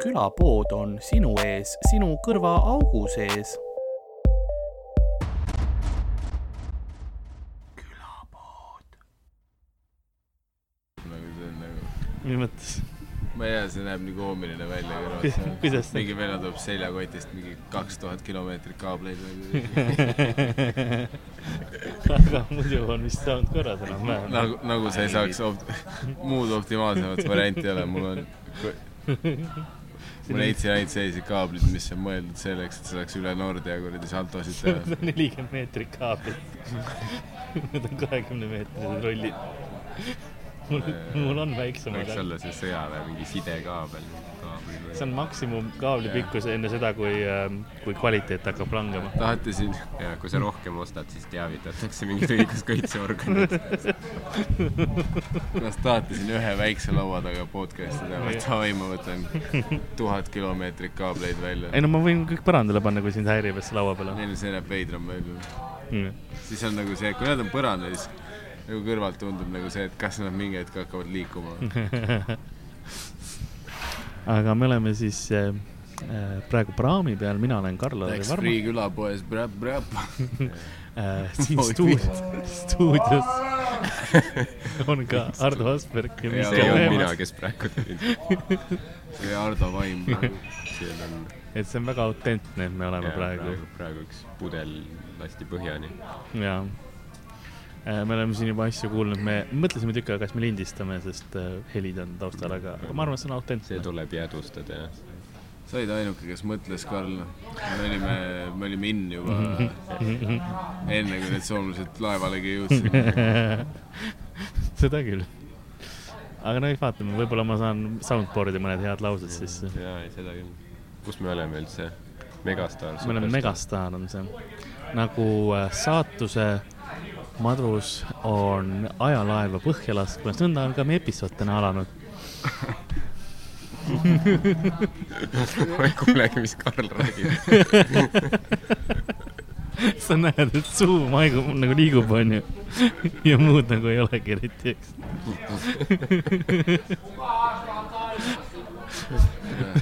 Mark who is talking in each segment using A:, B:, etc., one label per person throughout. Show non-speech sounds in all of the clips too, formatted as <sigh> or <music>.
A: külapood on sinu ees, sinu kõrvaaugu sees.
B: nagu see on nagu ,
C: mis mõttes ?
B: ma ei tea , see näeb nii koomiline välja kõrvalt .
C: kuidas see ?
B: mingi vene tuleb seljakotist mingi kaks tuhat kilomeetrit kaableid
C: <laughs>
B: või
C: aga muidu on vist saanud korras enam-vähem .
B: nagu , nagu sa ei saaks opt- , <laughs> muud optimaalsemat varianti ei ole , mul on ,
C: <laughs>
B: mul leidsin ainult selliseid kaableid , mis on mõeldud selleks , et sa saaks üle Nordea kuradi saltosid
C: <laughs>
B: teha .
C: nelikümmend meetrit kaablit . Need on kahekümne meetrised rollid . mul , mul on väiksemad
B: võiks . olla see sõjaväe mingi sidekaabel , kaabel
C: see
B: või .
C: on maksimum kaabli
B: Jah.
C: pikkus enne seda , kui , kui kvaliteet hakkab langema .
B: tahate siin ,
D: ja kui sa rohkem ostad , siis teavitatakse mingit õiguskaitseorganit .
B: kas tahate siin ühe väikse laua taga podcast'i teha , et davai , ma võtan tuhat kilomeetrit kaableid välja
C: ei . no ma võin kõik põrandale panna , kui sind häirib , et see laua <laughs> peal on .
B: Neil see näeb veidram välja . siis on nagu see , kui nad on põrandal , siis nagu kõrvalt tundub nagu see , et kas nad mingi hetk hakkavad
C: <laughs>
B: liikuma .
C: aga me oleme siis äh, äh, praegu praami peal , mina olen Karl-Lauri
B: Läks
C: Varma
B: Freeh külapoes , bräp-bräp .
C: äh, . siin
B: Oi,
C: stuud- , stuudios <laughs> on ka Ardo Asperg
B: Ja
C: ja Miske
D: see ei olnud mina
C: Veemas ,.
D: kes praegu
B: <laughs>
D: tulin .
B: see oli Ardo Vaim .
D: siin on
C: et see on väga autentne , et me oleme
D: jaa,
C: praegu
D: praegu , praegu üks pudel lasti põhjani .
C: ja Äh, me oleme siin juba asju kuulnud , me mõtlesime tükk aega , kas me lindistame , sest äh, helid on taustal , aga aga ma arvan , et see on
D: see
C: autentne . <laughs>
D: tuleb jäädvustada , jah .
B: sa olid ainuke , kes mõtles , Karl . me olime , me olime in
D: <laughs>
B: juba enne , kui need soomlased laevalegi jõudsid .
C: seda küll . aga no eks vaatame , võib-olla ma saan soundboard'i mõned head laused sisse .
D: jaa , ei seda küll . kus me oleme üldse ? megastaar .
C: me oleme . megastaar on see , nagu äh, saatuse madrus on ajalaeva põhja laskmas , nõnda on ka meie episood täna alanud . <laughs>
D: <laughs> ma ei kuulegi , mis Karl räägib .
C: sa näed , et suu maigub nagu liigub , onju . <laughs> ja muud nagu ei olegi eriti , eks . <laughs>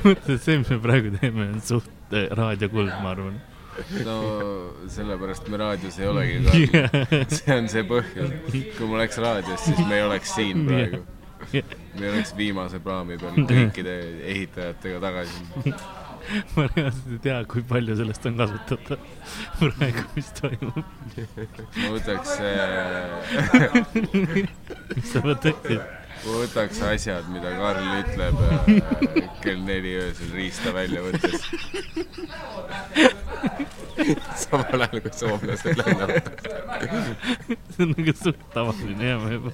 C: mõtle , et see , mis me praegu teeme , on suht eh, raadiokuld , ma arvan . <laughs>
B: no sellepärast me raadios ei olegi ,
C: <laughs>
B: Karl . <laughs> see on see põhjus . kui ma oleks raadios , siis me ei oleks siin praegu . me oleks viimase praami peal kõikide ehitajatega tagasi .
C: ma reaalselt ei tea , kui palju sellest on kasutada <laughs> praegu , mis toimub .
B: ma võtaks ,
C: mis sa mõtled ?
B: ma võtaks asjad , mida Karl ütleb äh, kell neli öösel riista välja võttes .
D: samal ajal kui soomlased lendavad .
C: see on nagu suht tavaline jah , ma juba .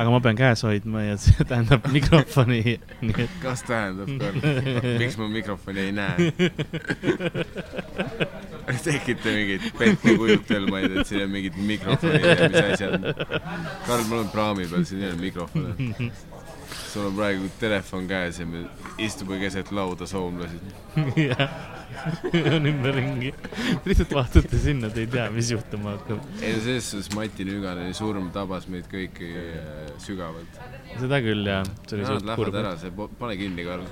C: aga ma pean käes hoidma ja see tähendab mikrofoni , nii et
B: kas tähendab , Karl , miks ma mikrofoni ei näe ? <laughs> tekite mingeid pette kujutelmaid , et siin on mingid mikrofonid ja mis asjad . Karl , ma olen praami peal , siin ei ole mikrofone . sul on praegu telefon käes ja me istume keset lauda soomlased .
C: jah , on ümberringi . lihtsalt vaatate sinna , te ei tea , mis juhtuma hakkab .
B: ei no selles suhtes Mati Nüganeni surm tabas meid kõiki äh, sügavalt .
C: seda küll jah , see oli
B: Nad
C: suht
B: lähevad
C: kurb .
B: ära , see , pane kinni ,
C: <laughs>
B: Karl .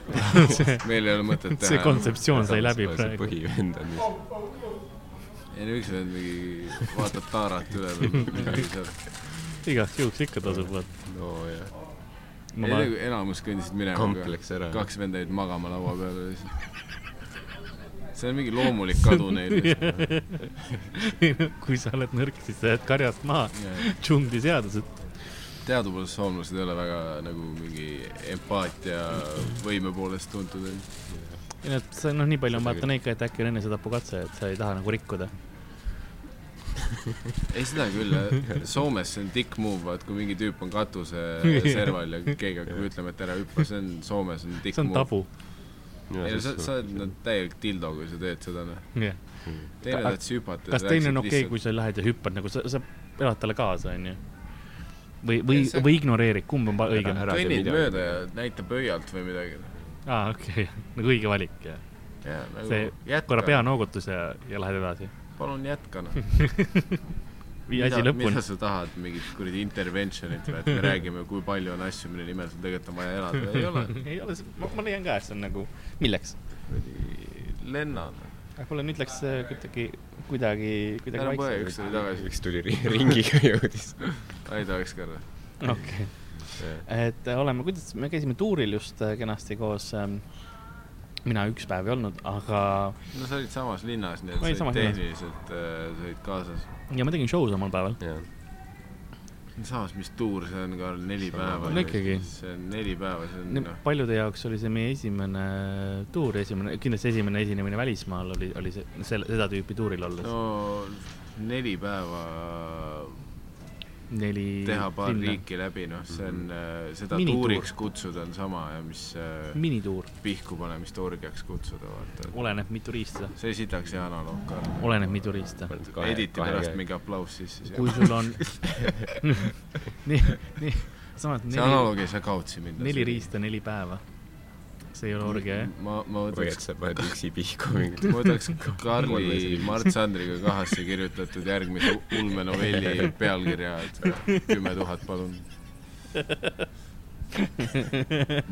B: meil ei ole mõtet teha .
C: see kontseptsioon sai läbi praegu .
D: põhivend on vist .
B: ei no üks vend mingi vaatab taarat üle või midagi seal .
C: igaks juhuks ikka tasub vaata .
D: nojah ,
B: ei
C: ma
B: nagu enamus kõndisid minema .
D: kompleks ära .
B: kaks venda jäid magama laua peale lihtsalt . see on mingi loomulik kadu neil
C: <laughs>
B: lihtsalt .
C: vaatan , <laughs> kui sa oled nõrk , siis sa jääd karjast maha . džungli seadused .
B: teadupoolest soomlased ei ole väga nagu mingi empaatia võime poolest tuntud .
C: ei no , et see noh , nii palju on
D: Seda
C: vaata neid ka , et äkki on enesetapukatse , et sa ei taha nagu rikkuda .
B: ei , seda küll . Soomes see on dick move , vaat kui mingi tüüp on katuse serval ja keegi hakkab ütlema , et ära hüppa , see on Soomes on dick
C: see on
B: move .
C: tabu .
B: ei no sa , sa oled no, täielik dildo , kui sa teed seda noh . teine
C: Aga
B: tahad süpata .
C: kas teine on okei okay, , kui sa lähed ja hüppad nagu sa , sa elad talle kaasa , onju ? või , või
B: Ei, , see-
C: või ignoreerid , kumb on pa- õigem ?
D: ära tee
B: kõnnid
D: midagi .
B: mööda ja näitab öialt või midagi .
C: aa , okei , nagu õige valik jah .
B: Nagu
C: See korra . peanoogutus ja , ja lähed edasi . <laughs>
B: palun jätka noh .
C: vii asi lõpuni
B: mida . sa tahad , mingit kuradi intervention'it või , et
C: <laughs>
B: me räägime , kui palju on asju , mille nimel sul tegelikult on vaja elada , ei ole .
C: ei ole , ma, ma leian ka , et see on nagu , milleks ?
B: lennan .
C: aga mulle nüüd läks see kuidagi , kuidagi , kuidagi
B: ära põe , üks tuli tagasi .
D: üks tuli ri- ringiga <laughs> jõudis .
B: ei tahaks ka .
C: okei , et äh, oleme , kuidas , me käisime tuuril just äh, kenasti koos ähm, . mina üks päev ei olnud , aga ,
B: no sa olid samas linnas , nii
C: Ma olin
B: et sa
C: samas
B: olid
C: linnas.
B: tehniliselt , sa olid kaasas .
C: ja ma tegin show samal päeval .
B: samas , mis tuur see on , Karl , neli päeva .
C: No ikkagi.
B: see on neli päeva , see on noh ,
C: paljude jaoks oli see meie esimene tuur , esimene , kindlasti esimene esinemine välismaal oli , oli see , selle , seda tüüpi tuuril olles
B: no
C: no, .
B: neli päeva
C: neli .
B: teha paar linna. . riiki läbi , noh , see on , seda
C: Minituur.
B: tuuriks kutsuda on sama ja mis äh,
C: minituur ,
B: pihku panemist orgiaks kutsuda , vaata .
C: oleneb mitu riista ,
B: see sitaks hea analoog ka .
C: oleneb mitu riista .
B: editi pärast . mingi aplaus sisse .
C: kui
B: see
C: sul on
B: <laughs>
C: nii , nii , samas neli ,
B: analoog ei saa kaotsi minna .
C: neli . riista , neli päeva . see ei ole orgia , jah ? <laughs>
B: ma , ma
D: või et
B: võtaks ,
D: sa paned üksi pihku mingi .
B: ma võtaks
D: Kolme
B: Karli
D: isegi.
B: Mart Sandriga kahasse kirjutatud järgmise ulmenovelli pealkirja , et kümme tuhat , palun .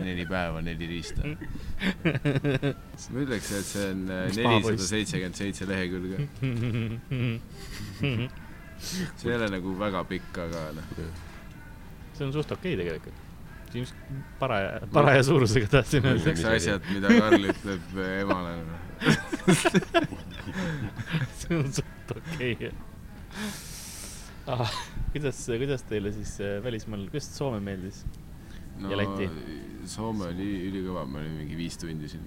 B: neli päeva , neli riista . ma ütleks , et see on äh,
C: Mis
B: nelisada
C: pahapoiss?
B: seitsekümmend seitse lehekülge . see ei ole nagu väga pikk , aga noh .
C: see on suht okei tegelikult . James paraja , paraja suurusega tahtsin öelda .
B: Öeldakse asjad , mida Karl ütleb äh, emale . noh.
C: see on suht okei ah, . kuidas , kuidas teile siis äh, välismaal , kuidas Soome meeldis Ja Läti?
B: Soome oli ülikõva , me olime mingi viis tundi siin .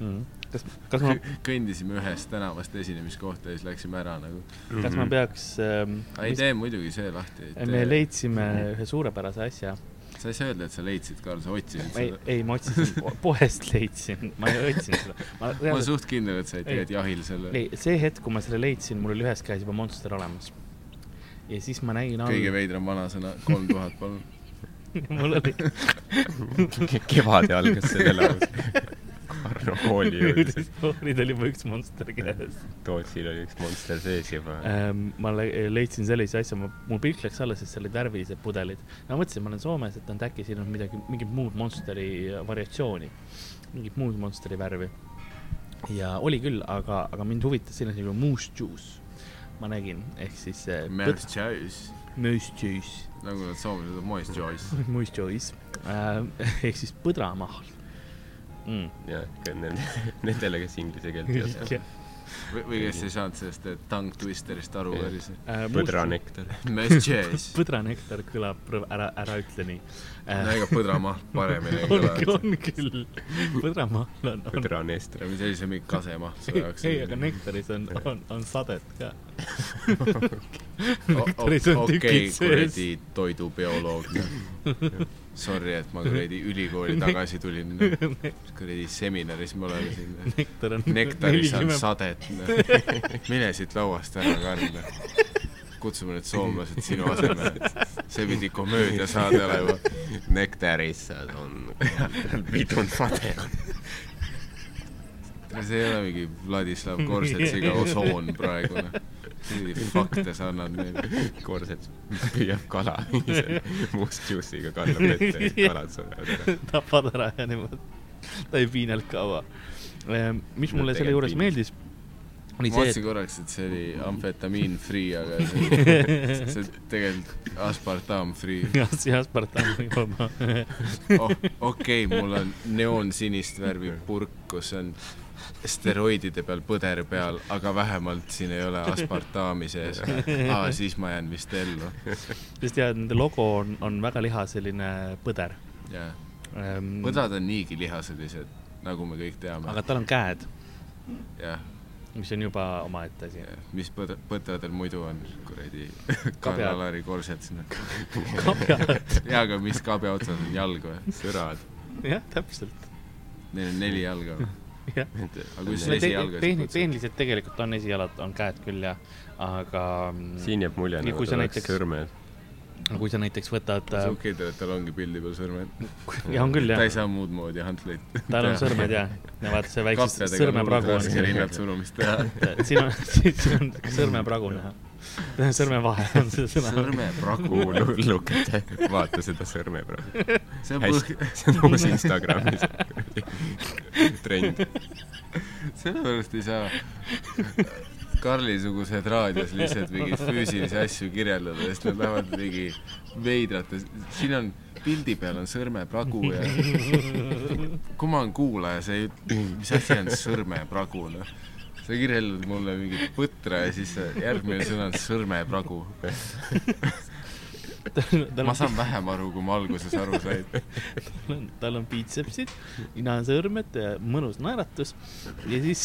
C: mm. ? kas , kas ma ,
B: kõndisime ühest tänavast esinemiskohta ja siis läksime ära nagu .
C: kas ma peaks ähm, ,
B: ei tee muidugi see lahti .
C: me . leidsime ühe suurepärase asja .
B: sa ei saa öelda , et sa leidsid , Karl , sa otsisid
C: ei
B: seda .,
C: ei , ma otsisin po , poest leidsin , ma ei otsinud seda . ma
B: ma olen
C: reaalselt ,
B: suht kindel , et sa olid
C: Ei.
B: tegelikult jahil selle
C: ei , see hetk , kui ma selle leidsin , mul oli ühes käes juba Monster olemas . ja siis ma nägin
B: kõige veidram vanasõna , kolm tuhat , <laughs> palun .
C: mul oli ,
D: <laughs> kevade algas see elavus . Arno kooli
B: <laughs>
C: <laughs>
D: jõudis .
C: nüüd oli juba üks Monster käes .
D: Tootsil oli üks monster sees juba .
B: Äh.
C: Ähm, ma le- leidsin sellise asja , mul pilk läks alla , sest seal olid värvilised pudelid . ma mõtlesin , ma olen Soomes , et on äkki siin on midagi , mingit muud Monsteri äh, variatsiooni , mingit muud Monsteri värvi . ja oli küll , aga , aga mind huvitas selline asi nagu moose juice . ma nägin , ehk siis äh,
B: Mers Joyce ,
C: põd- moose juice , <laughs>
B: nagu nad soomlased on , Moist Joyce .
C: moose juice äh, ehk siis põdramahl mm. .
D: jah , <laughs> nendele , kes inglise keelt ei oska .
B: või , või kes ei saanud sellest eh, tongue twisterist aru ,
D: Ei.
B: oli see .
C: Äh, moose-
D: põdranektar .
B: Mers Joyce .
C: põdranektar kõlab , ära , ära ütle nii
B: no
C: äh, .
B: ega põdramaht paremini ei
C: on
B: kõla ,.
C: on küll , põdramahl on , on
D: põdranestar .
B: läbi sellise mingi kasemaht su jaoks .
C: ei , aga nektaris on , on , on sadet ka .
B: nektaris
C: nektaris on tükid sees.
B: kuradi toidubioloog .
C: <laughs>
B: Sorry , et ma kuradi ülikooli tagasi tulin . kuradi seminaris me oleme siin .
C: nektar on
B: nektaris on
C: <laughs>
B: sadet . mine siit lauast ära , Karl . kutsume need soomlased sinu asemele . see pidi komöödiasaade
D: <laughs>
B: olema .
D: nektarisse on pidun sade .
B: see ei ole mingi Vladislav
C: <laughs>
B: Korsetšiga osoon praegu . fakte sa annad meile .
D: korsed püüab kala . must juustiga kallab vette
B: <laughs>
D: ja siis kalad surevad ära .
C: <laughs> tapad ära ja niimoodi . ta ei piinanud kaua . Ehm, mis
D: No
C: mulle selle
D: tegelikult
C: juures
D: piinab.
C: meeldis , oli
B: ma
C: see ,
B: mõtlesin korraks , et see oli amfetamiin free , aga see,
C: <laughs>
B: see tegelikult aspartam free
C: et . <laughs> jah , see aspartam on juba maha .
B: oh, . okei okay, , mul on neoonsinist värvi purk , kus on steroidide peal põder peal , aga vähemalt siin ei ole aspartami sees . aa , siis ma jään vist ellu .
C: <laughs> sest jah , nende logo on , on väga liha selline põder .
B: jaa , põdrad on niigi lihaselised , nagu me kõik teame
C: aga . tal on käed ,
B: jah ,
C: mis on juba omaette
B: <laughs>
C: asi .
B: mis põd- , põdradel muidu on , kuradi
C: <laughs> Kabjad.
B: Karl-Alari korsed sinna .
C: kabjad ,
B: jaa , aga mis kabja otsas on jalg või ?
D: sürad .
C: jah , täpselt .
B: Neil on neli jalga või ?
C: jah .
B: aga kui sa
C: Te-
B: esijalga
C: tehni- , tehniliselt tegelikult on esijalad , on käed küll ja , aga mm,
D: siin jääb mulje ,
C: Ja
D: nagu
C: kui sa
D: tal oleks
C: näiteks-
D: sõrmed .
C: aga kui sa näiteks võtad ,
B: see on okei , tal ongi pildi peal sõrmed .
C: ja on küll
B: ta ei
C: jah ,
B: saa muud moodi hantleid .
C: <laughs> tal on sõrmed ja , ja vaata see väikse
B: kahtedega on
C: sõrmepragu
B: hullult
C: on
B: raske
C: <laughs> siin ,
B: rinnalt surumist teha .
C: siin on , siin on sõrmepragu näha . sõrme vahel on see sõna .
B: sõrmepragu .
C: <laughs>
D: kuulu lukete , vaata seda sõrme praegu .
B: see on
D: hästi
B: põhi ,,
D: <laughs> see on uus Instagramis <laughs> trend .
B: sellepärast ei saa Karli-sugused raadios lihtsalt mingeid füüsilisi asju kirjeldada , sest nad lähevad mingi veidrates , siin on pildi peal on sõrmepragu ja kui ma olen kuulaja , sa ei , mis asi on sõrmepragu , noh . sa kirjeldad mulle mingit põtra ja siis sa- järgmine sõna on sõrmepragu . ma saan vähem aru , kui ma alguses aru sain .
C: tal on , tal on piitsepsid , ninasõrmed , mõnus naeratus ja siis ,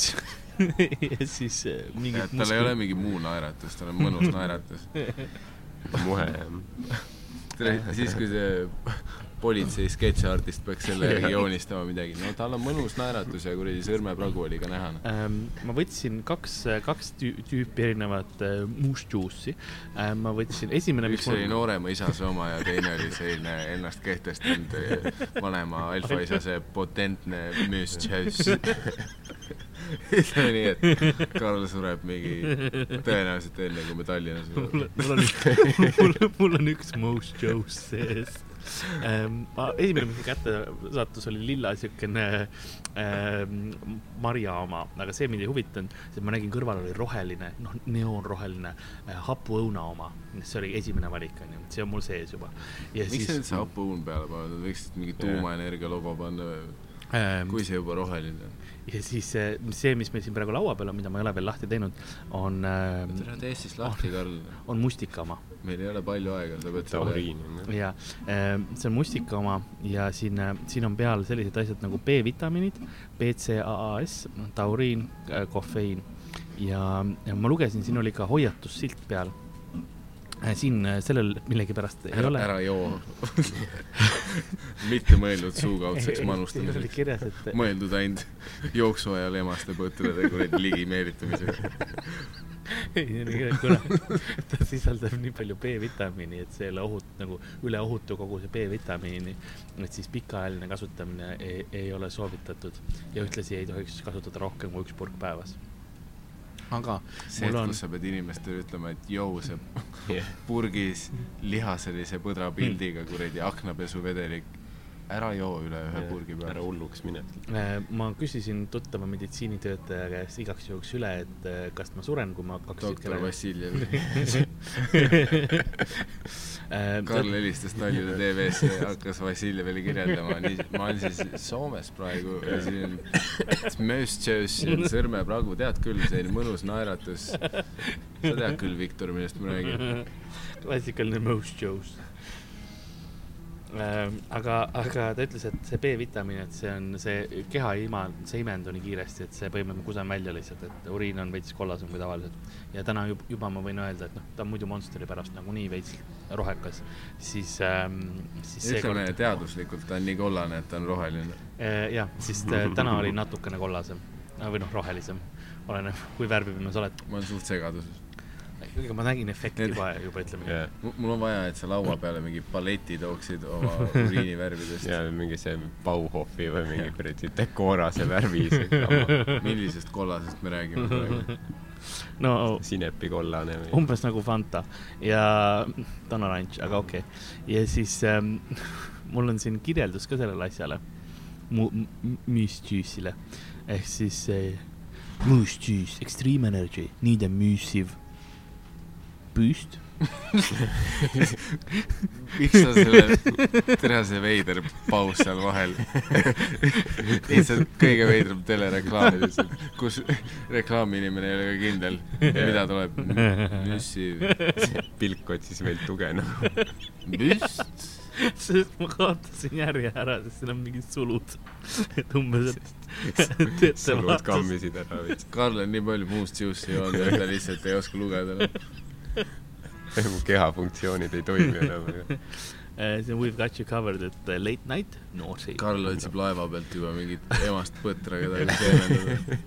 C: <laughs> ja siis äh, mingid
B: tal ei ole mingi muu naeratus , tal on mõnus naeratus .
D: muhe .
B: tere , siis kui see politsei sketšartist peaks
C: <laughs>
B: selle järgi joonistama midagi , no tal on mõnus naeratus ja kuradi sõrmepragu oli ka näha . noh.
C: Ähm, ma võtsin kaks , kaks tüü- tüüpi erinevat äh, must juussi ähm, . ma võtsin esimene , mis
B: üks
C: mul
B: oli noorema isase oma ja teine oli selline ennast kehtestanud eh, vanema alfaisase potentne müstšäss .
C: <laughs>
B: ütleme nii , et Karl sureb mingi tõenäoliselt enne , kui me Tallinnas
C: mul
B: oleme .
C: mul on
B: <laughs>
C: üks , <laughs> mul , mul on üks most shows sees ähm, . ma , esimene , mis mu kätte sattus , oli lilla siukene ähm, marja oma , aga see mind ei huvitanud , sest ma nägin kõrval oli roheline , noh , neoonroheline äh, hapuõuna oma . see oli esimene valik , onju , see on mul sees juba . ja
B: miks sa
C: siis
B: üldse hapuõun peale paned , nad võiksid mingi tuumaenergia logo panna ,
C: ähm, ,
B: kui see juba roheline on .
C: ja siis äh, see , mis meil siin praegu laua peal on , mida ma ei ole veel lahti teinud , on
B: tere ,
C: äh, ,
B: tee Eestist lahti , Karl .
C: on mustika oma
B: meil ei ole palju aega , sa pead selle
D: tauriin on
C: ja äh, see on mustika oma ja siin , siin on peal sellised asjad nagu B-vitamiinid , BCAAS , tauriin , kofeiin ja, ja ma lugesin , siin oli ka hoiatussilt peal . siin äh, sellel millegipärast ei
B: ära ,
C: ole .
B: ära joo . mitte mõeldud suukaudseks
C: siin oli
B: manustamiseks ,
C: kirjas , et
B: mõeldud ainult jooksu ajal emaste põtrade kuradi ligimeelitamiseks .
C: <laughs> ei , see on ikka , kuna <laughs> ta sisaldab nii palju B-vitamiini , et see ei ole ohut- , nagu üle ohutu koguse B-vitamiini , et siis pikaajaline kasutamine ei, ei ole soovitatud ja ühtlasi ei tohiks kasutada rohkem kui üks purk päevas . aga
B: see , et
C: Mul on-
B: kus sa pead inimestele ütlema , et joo , see
D: ju .
B: purgis liha sellise põdra pildiga kuradi aknapesuvedelik , ära joo üle ühe purgi
D: ära
B: peale .
D: hulluks mine .
C: äh, ma küsisin tuttava meditsiinitöötaja käest igaks juhuks üle , et äh, kas ma suren , kui ma kaks
B: doktor
C: <laughs>
B: Vassiljev ,
C: Äh,
B: Karl
C: Vassiljev .
B: helistas Tallinna TV-sse ja hakkas Vassiljevile kirjeldama , nii , ma olen siis Soomes praegu ja siin Mööstšöös ja sõrmepragu , tead küll , selline mõnus naeratus . sa tead küll , Viktor , millest ma räägin .
C: klassikaline most shows . aga , aga ta ütles , et see B-vitamiin , et see on see keha ei ima , see ei imendu nii kiiresti , et see põhimõtteliselt ma kusen välja lihtsalt , et uriin on veits kollasem kui tavaliselt . ja täna juba, juba ma võin öelda , et noh , ta on muidu Monsteri pärast nagunii veits rohekas , siis ähm, , siis
B: ütleme
C: seekord
B: teaduslikult ta on nii kollane , et ta on roheline .
C: äh, jah , siis ta- täna oli natukene kollasem Äh, või noh , rohelisem , oleneb kui värviline sa oled .
B: ma olen suht segaduses .
C: ega ma nägin efekti juba , juba ütleme nii .
B: mul on vaja , et sa laua peale mingi paleti tooksid oma uriinivärvidest .
D: ja mingi see Bauhofi või mingi kuradi dekorase värvi , see
C: <laughs>
B: millisest kollasest me räägime praegu ?
C: no
D: sinepikollane või
C: umbes nagu Fanta ja ta on oranž , aga okei okay. . ja siis ähm, <laughs> mul on siin kirjeldus ka sellele asjale , müstüüsile ehk siis eh, müstüüs , extreme energy , need amusive püüst .
B: miks sa selle , tere , see veider paus seal vahel . lihtsalt kõige veidram telereklaam lihtsalt , kus reklaamiinimene ei ole ka kindel , mida tuleb . müssi ,
D: pilk otsis veel tuge
C: <laughs>
D: nagu .
B: müst ,
C: sest ma kaotasin järje ära , sest siin on mingid sulud , et umbes , et ette
D: sõnud
C: vaatas .
D: kammisid ära veits .
B: Karl on nii palju muust juust joonud , et ta lihtsalt ei oska lugeda .
D: mu kehafunktsioonid ei toimi enam .
C: <laughs> see on We've got you covered , et eh, late night , naughty .
B: Karl otsib laeva pealt juba mingit emast põtra , keda ei teemendada .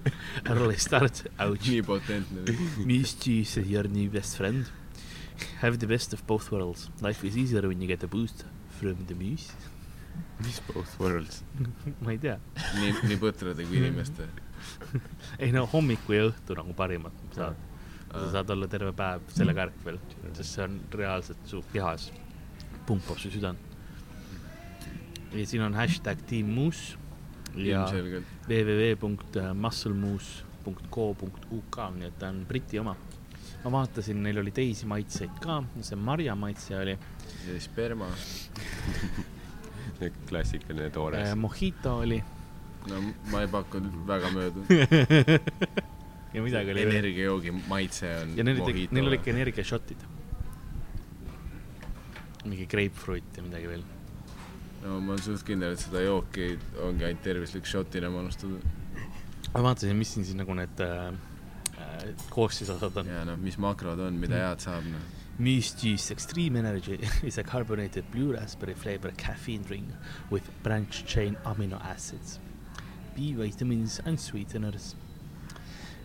C: Early start ,
D: <laughs>
C: ouch .
B: nii potentne .
C: Mischief is your new best friend. Have the best of both worlds. Life is easier when you get a boost from the muse .
D: mis both
C: <laughs>
D: worlds ?
C: ma ei tea ,
B: nii , nii põtrade kui inimeste .
C: ei no hommiku ja õhtu nagu parimad saad . sa saad olla terve päev selle kärkvel , sest see on reaalselt su kehas , pumpab su südant . ja siin on hashtag Team Muus ja
B: ilmselgelt .
C: www.musclemuus.co.uk , nii et ta on Briti oma . ma vaatasin , neil oli teisi maitseid ka , see marja maitse oli ,
B: see sperma ,
D: klassikaline toores .
C: äh, mojito oli
B: no ma ei pakkunud väga mööda .
C: ja midagi oli veel .
B: energiajoogi maitse on
C: ja neil olid , neil olid
B: mojito .
C: ka energiašotid . mingi grapefruit ja midagi veel .
B: no ma olen suht kindel , et seda jooki ongi ainult tervislik šotina manustada .
C: ma vaatasin , mis siin siis nagu need äh, äh, koostisosad on .
B: ja noh , mis makrod on ,
C: Mm.
B: mida head saab , noh .
C: Muse Juice Extreme Energy <laughs> is a carbonated blue raspberry flavor caffeine drink with branched chain amino acids, B vitamins and sweeteners.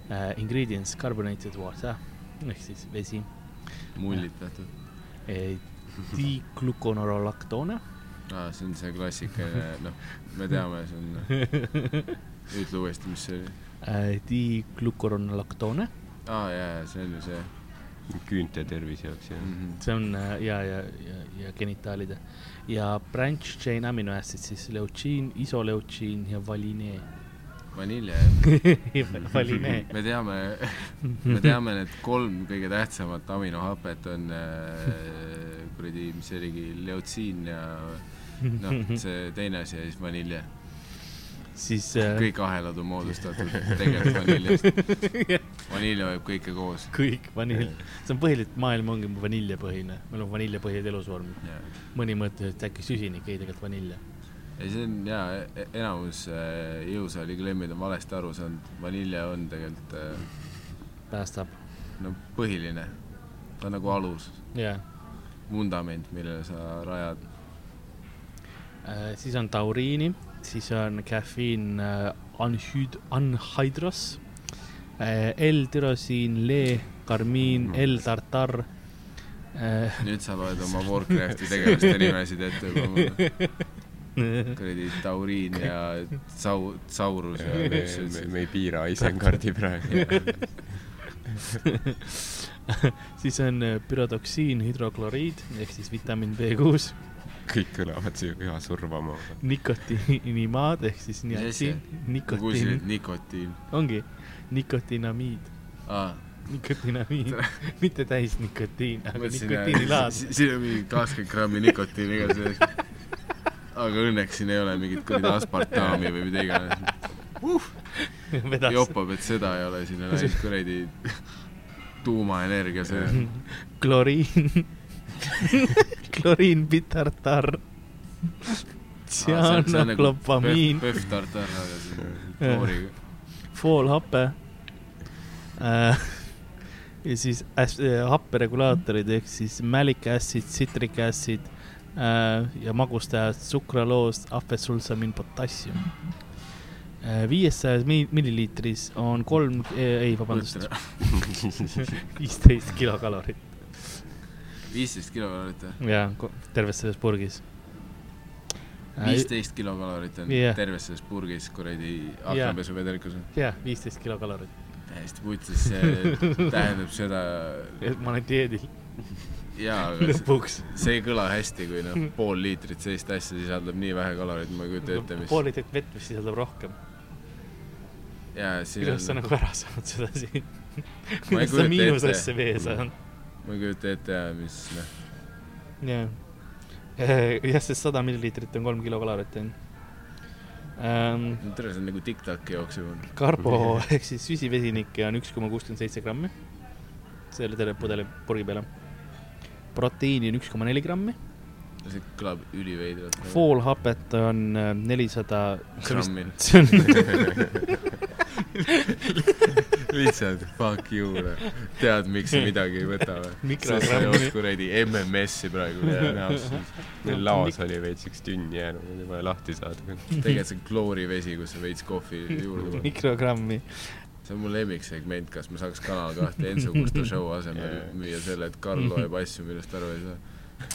C: Uh, ingredients carbonated water ehk siis vesi
B: mullitatud .
C: eh, , diglukonorolaktoone
B: aa , Ah, see on see klassikaline , noh , me teame , see
C: <laughs>
B: on , ütle uuesti , mis see oli .
C: eh, , diglukoronolaktoone ,
B: aa , Ah, jaa , see on ju see
D: küünte tervise jaoks jah
B: mm . -hmm.
C: see on eh, ja , ja , ja , ja genitaalide ja branched chain amino acids siis leutsiin , isoleutsiin ja <laughs> valinee .
B: vanilje , jah .
C: valinee .
B: me teame ,
C: <laughs>
B: me teame , need kolm kõige tähtsamat aminohapet on äh, kuradi , mis see oligi , leutsiin ja noh , see teine asi ja siis vanilje .
C: siis äh,
B: kõik ahelad on moodustatud tegelikult vaniljest . vanilje hoiab kõike koos .
C: kõik vanilj , see on põhiliselt maailm ongi vaniljepõhine , meil on vaniljepõhised elusvormid ,
B: ja
C: mõni mõtles , et äkki süsinik , ei tegelikult vanilje .
B: ja see on jaa , enamus äh, jõusaali klemmid on valesti aru saanud , vanilje on tegelikult äh,
C: päästab ,
B: no põhiline , ta on nagu alus ,
C: jaa .
B: vundament , millele sa rajad .
C: Äh, siis on tauriini , siis on käfiin äh, anhyd- , anhydros äh, , L-tirosiin , lee , karmiin , L-tartar äh, ,
B: nüüd sa loed oma Warcrafti tegelaste nimesid ette juba mulle . kuradi Tauriin ja Tsau- , Tsaurus
D: <laughs>
B: ja
D: me,
B: mis see
D: me,
B: üldse
D: me ei piira Isengardi <laughs> praegu .
C: <laughs> siis on äh, pürotoksiin , hüdrokloriid ehk siis vitamiin B6 ,
D: kõik kõlavad siia üha <laughs> survavamalt .
C: nikotiinimaad ehk siis
B: Mis asi?
C: nikotiin ,
B: ma kuulsin ,
C: nikotiin
B: et , nikotiin .
C: ongi nikotiinamiid .
B: aa , <laughs>
C: nikotiinamiin , <laughs> mitte täis nikotiin , aga
B: mõtlesin , äh,
C: nikotiinilaad .
B: siin on mingi kakskümmend grammi nikotiini ka sees . aga õnneks siin ei ole mingit kuradi aspartami või mida iganes .
C: <laughs> vedas
B: jopab , et seda ei ole , siin on ainult kuradi tuumaenergia sees .
C: <laughs> kloriin , <laughs> kloriin , bitartar ,
B: Ah, nagu
C: tsianoklopamiin ,
B: PÖFF tartar , aga see on tooriga .
C: foolhape äh, . ja siis äs- äh, happeregulaatorid ehk siis mälik acid , citric acid äh, ja magustajad sukraloos , ahvesulsamin , potassium . viiesajas milliliitris on kolm , ei vabandust , viisteist kilokalorit .
B: viisteist kilokalorit või ?
C: jaa , terves selles purgis .
B: viisteist kilokalorit on
C: Äh, Jah.
B: yeah. terves selles purgis kuradi
C: Jah.
B: aknapesuvedelikus .
C: jah , viisteist kilokalorit ,
B: täiesti putsis , see tähendab seda
C: <laughs> et ma olen dieedil
B: jaa , aga see-
C: lõpuks .
B: see ei kõla hästi , kui
C: <laughs>
B: noh , pool liitrit sellist asja sisaldab nii vähe kaloreid , ma ei kujuta ette , mis .
C: pool liitrit vett , mis sisaldab rohkem .
B: jaa , siin
C: kuidas sa
B: on ,
C: nagu ära saad seda siin ? <laughs> kuidas sa
B: kujuta
C: miinusesse
B: ette.
C: vee saad ?
B: ma ei kujuta ette jaa , mis noh ,
C: jah , jah , sest sada milliliitrit on kolm kilokalorit , onju .
B: tere , see on nagu tiktak jookseb .
C: karbo <laughs> ehk siis süsivesinikke on üks koma kuuskümmend seitse grammi , selle terve pudeli purgi peale . proteiini on üks koma neli grammi ,
B: see kõlab üliveidralt . nagu
C: foolhapet on eh, nelisada , <laughs>
B: grammi .
C: see on
B: lihtsalt fuck you ,
D: noh.
B: tead , miks sa midagi ei võta
C: <laughs>
B: või ?
C: Mikrogrammi.
B: kuradi MMS-i praegu näost .
C: Noh,
D: meil laos oli veits üks tünn jäänud , oli vaja lahti saada .
B: tegelikult see on kloorivesi , kus sa veits kohvi juurde paned . <laughs>
C: mikrogrammi .
B: see on mu lemmiksegment , kas ma saaks Kanal kahte Enso Gusto show asemel
D: Jaa.
B: müüa selle , et Karl loeb asju , millest aru ei saa .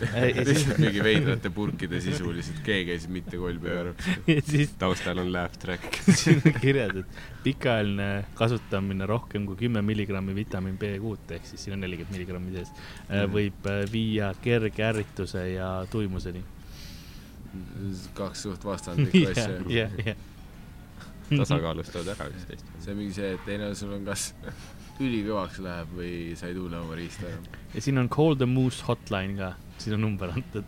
C: ja siis ,
B: lihtsalt <laughs> mingi veidrate purkide sisuliselt , keegi ei saa mitte kolbi ära .
C: ja <laughs> siis
D: taustal on laugh track .
C: <laughs> siin on kirjas , et pikaajaline kasutamine rohkem kui kümme milligrammi vitamiin B6-t ehk siis siin on nelikümmend milligrammi sees , võib äh, viia kerge ärrituse ja tuimuseni .
B: kaks suht vastandlikku asja .
C: <laughs> jah , jah .
D: tasakaalustavad ära üksteist .
B: see on mingi see , et teine sul on kas ülikõvaks läheb või sa ei tunne oma riista enam .
C: ja siin on Call the Moose hotline ka , siin on number <laughs> antud .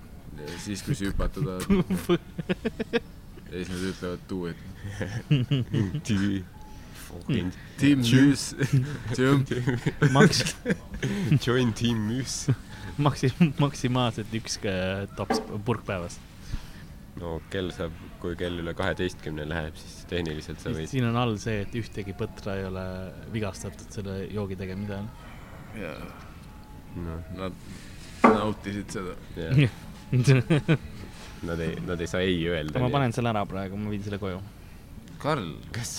B: siis , kui sa hüpata tahad . ja siis nad ütlevad do it .
D: tüü . Fucking
B: Team News , Jump .
C: maks- ,
D: join team müüs .
C: maksi- , maksimaalselt üks äh, tops purk päevas .
D: no kell saab , kui kell üle kaheteistkümne läheb , siis tehniliselt sa võid .
C: siin on all see , et ühtegi põtra ei ole vigastatud selle joogi tegemise ajal .
D: noh ,
B: Nad nautisid seda .
D: jah ,
C: <laughs>
D: nad ei , nad ei saa ei öelda .
C: ma panen selle ära praegu , ma viin selle <laughs> koju .
B: Karl ,
D: <laughs> kas ,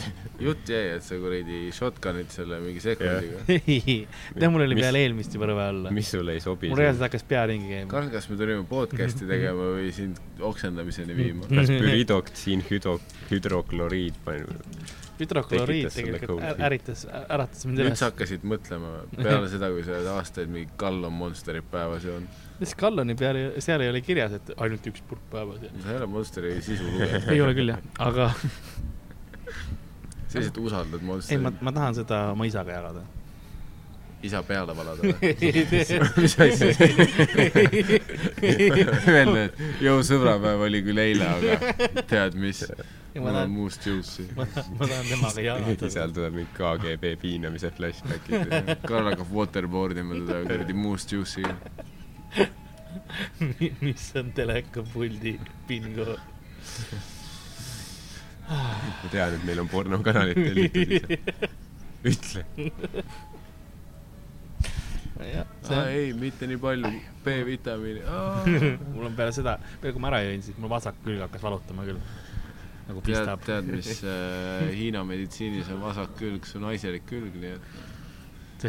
B: jutt jäi , et sa kuradi shotgun'id selle mingi sekundiga .
C: tead , mul oli
D: Mis-
C: peal eelmist juba rõve alla .
D: mis sulle ei sobi
C: mul ? reaalselt hakkas pea ringi käima .
B: Karl , kas me tulime podcast'i tegema või sind oksendamiseni viima ?
C: <laughs>
D: kas
C: Mhm.
D: püridoksiin hüdro , hüdrokloriid
B: <laughs>
D: panime ?
C: hüdrokloriid
D: tekitas sulle
C: tegelikult ä-
D: kõhusi?
C: ärritas , äratas mind
B: nüüd
C: üles
B: sa . hakkasid mõtlema peale seda , kui sa oled aastaid mingi Kallon Monsterit päevas joonud .
C: mis Kalloni peal , seal ei ole kirjas , et ainult üks purk päevas .
B: sa ei ole Monsteri sisu lugenud ,
C: ei ole küll jah , aga
B: sa lihtsalt usaldad
C: ei , ma ,
B: Monsterit ,
C: ma tahan seda oma isaga jagada .
B: isa peale valada või ?
C: <laughs> mis
B: asja? ?
C: <laughs>
B: Öelda , et jõu sõbrapäev oli küll eile , aga tead mis ,
C: ma
B: mul on
C: tahan ,
B: muust juussi .
C: ma tahan , ma tahan temaga <laughs> jagada .
D: seal tuleb mingi KGB piinamise flashbackid .
B: Karl hakkab waterboard ima teda kuradi muust juussiga .
C: mis on telekapuldi bingo .
D: ma tean , et meil on pornokanalit tellitud ise . ütle .
B: aa ei , mitte nii palju , B-vitamiini .
C: <laughs> mul on peale seda , peale kui ma ära jõin , siis mul vasak külg hakkas valutama küll . nagu
B: tead ,
C: pistab .
B: tead , mis
C: <laughs>
B: äh, Hiina meditsiinis on vasak külg , see on naiselik külg , nii et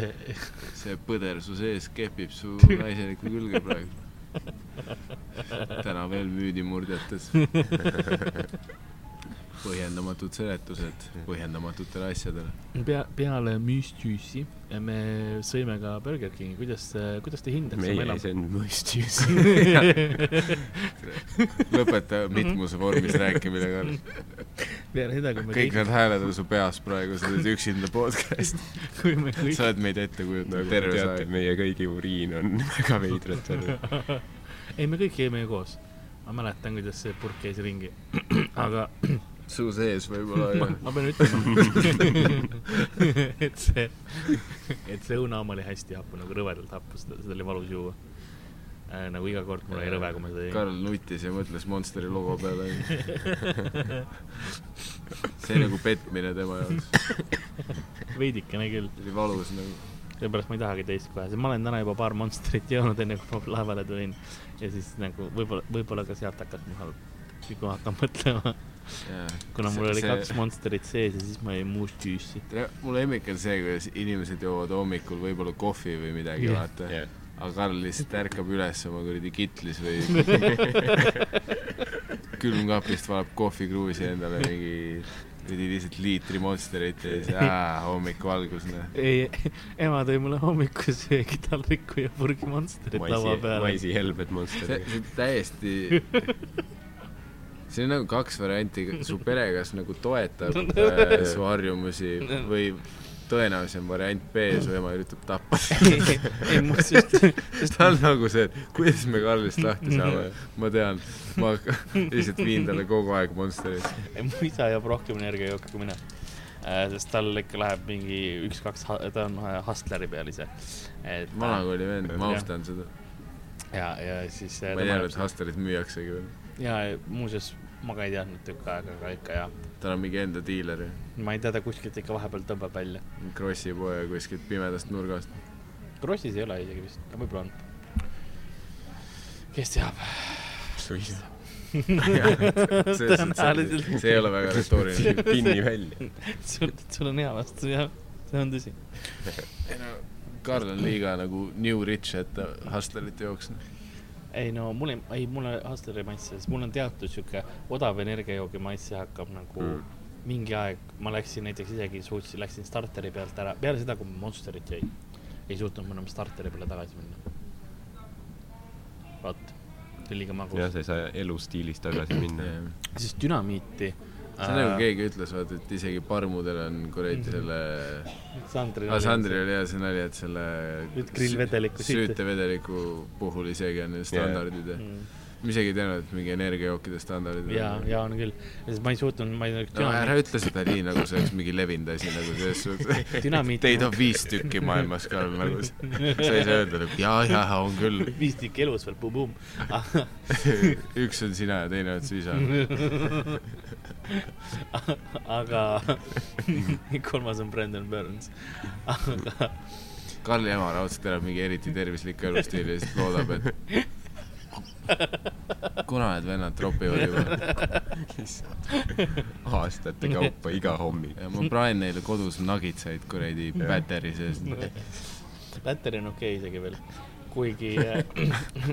B: see põder su sees kepib
C: <laughs>
B: su naiseliku külge praegu . täna veel müüdimurdjates . põhjendamatud seletused põhjendamatutele asjadele .
C: pea , peale müstüüsi me sõime ka Burger Kingi , kuidas , kuidas te hindate
D: meie
C: seda
D: ei saanud mõistus .
C: elamu ?
B: lõpeta
C: Mhm.
B: mitmuse vormis rääkimine , Karl .
C: <laughs> peale seda , kui me
B: kõik
C: kõik ,
B: need hääled on su peas praegu , sa oled üksinda podcast .
C: kui me kõik
B: sa oled meid ette
D: nagu
B: kujutanud
D: te
B: <laughs> terve
D: teate ,
B: aeg .
D: meie kõigi uriin on <laughs> väga veidralt olnud .
C: <laughs> ei , me kõik jäime ju koos . ma mäletan , kuidas see purk käis ringi . <clears throat> aga
B: su sees võib-olla
C: ma,
B: jah .
C: ma pean ütlema , <laughs> et see , et see õunaam oli hästi hapu , nagu rõvedalt hapu , seda , seda oli valus juua . nagu iga kord mul oli rõve , kui ma seda jõin .
B: Karl nutis ja mõtles Monsteri logo peale .
C: <laughs>
B: see oli nagu petmine tema jaoks .
C: <laughs> veidikene küll ,
B: see oli valus nagu .
C: seepärast ma ei tahagi teist kohe , sest ma olen täna juba paar Monsterit joonud , enne kui ma laevale tulin . ja siis nagu võib-olla , võib-olla ka sealt hakkas mul halb , kui ma hakkan mõtlema , kuna mul oli kaks Monsterit sees ja siis ma jõin muust tüüssi .
B: tere , mu lemmik on see , kuidas inimesed joovad hommikul võib-olla kohvi või midagi
C: Jah.
B: yeah. , vaata yeah. . aga Karl lihtsalt ärkab üles oma kuradi kitlis või
C: <laughs>
B: külmkapist valab kohvikruusi endale mingi kuradi lihtsalt liitri Monsterit ja siis aa, hommikuvalgus , noh .
C: ei , ema tõi mulle hommikusöögi taldriku ja purgi Monsterit laua
D: maisi ,
C: peale .
D: maisi helbed
B: see
D: monstrid .
B: see täiesti siin on nagu kaks varianti , su pere kas nagu
C: <laughs>
B: toetab äh, su harjumusi või tõenäolisem variant B , su ema üritab tappa
C: <laughs>
B: <laughs>
C: ei , ei , ma just ,
B: sest ta on nagu see , et kuidas me Karlist
C: <laughs>
B: lahti saame , ma tean , ma lihtsalt viin talle kogu aeg Monsterit .
C: Ei, mu isa jääb rohkem energiajooki kui mina . sest tal ikka läheb mingi üks-kaks , ta on äh, hustleri peal ise . et
B: vana kooli vend , ma nagu
C: Jah.
B: austan seda .
C: ja , ja siis . äh,
B: ma ei teadnud , et Hasterit müüaksegi veel .
C: ja muuseas , ma ka ei teadnud tükk aega , aga ikka ja .
B: tal on mingi enda diiler ju ,
C: ma ei tea , ta kuskilt ikka vahepeal tõmbab välja .
B: Krossi poja kuskilt pimedast nurgast .
C: Krossis ei ole isegi vist , aga võib-olla on . kes teab ? <laughs> Tõenäoliselt.
B: see ei ole väga retooriline .
C: <laughs>
D: pinni välja .
C: sul , sul on hea vastus , jah . see on tõsi .
B: Karl on liiga nagu new rich , et ta Hasterit jooks .
C: ei no mul ei , ei mulle Hustleri maitse , sest mul on teatud sihuke odav energiajoogi maitse hakkab nagu mm.
B: Hmm.
D: Mm.
C: mingi aeg , ma läksin näiteks isegi suutsin , läksin starteri pealt ära , peale seda , kui ma Monsterit jõin , ei suutnud ma enam starteri peale tagasi minna . vot , see oli liiga
D: jah ,
C: magus ,
D: sa ei saa elustiilis tagasi minna .
C: siis äh, dünamiiti .
B: see on nagu . keegi ütles , vaata , et isegi parmudel on
C: Mhm.
B: kuradi selle ,
C: Sandri .
B: Sandril oli hea see nali , et selle
C: Nüüd grillvedeliku süüte-
B: süütevedeliku puhul isegi on need
D: Jaa.
B: standardid ja
C: Mm.
B: ma isegi ei teadnud , et mingi energiajookide standardid
C: ja , ja on küll , sest ma ei suutnud , ma ei olnud
B: no ära ütle seda nii , nagu see oleks mingi levinud asi nagu selles suhtes .
C: dünamiiti
B: Teid on viis tükki maailmas ka nagu , sa ei saa öelda nagu jaa , jaa , on
C: <laughs>
B: küll .
C: viis tükki elus veel ,
B: <laughs>
C: bum-bum .
B: üks on sina ja teine oled sina .
C: aga kolmas on Brandon Burns . aga
B: Karli ema raudselt elab mingi eriti tervislikku elustiili ja siis loodab , et kuna need vennad tropivad juba .
D: aastate kaupa iga <laughs> hommik .
B: ja ma praen neile kodus nagitsaid kuradi päteri seest .
C: Läteri on okei okay isegi veel , kuigi äh,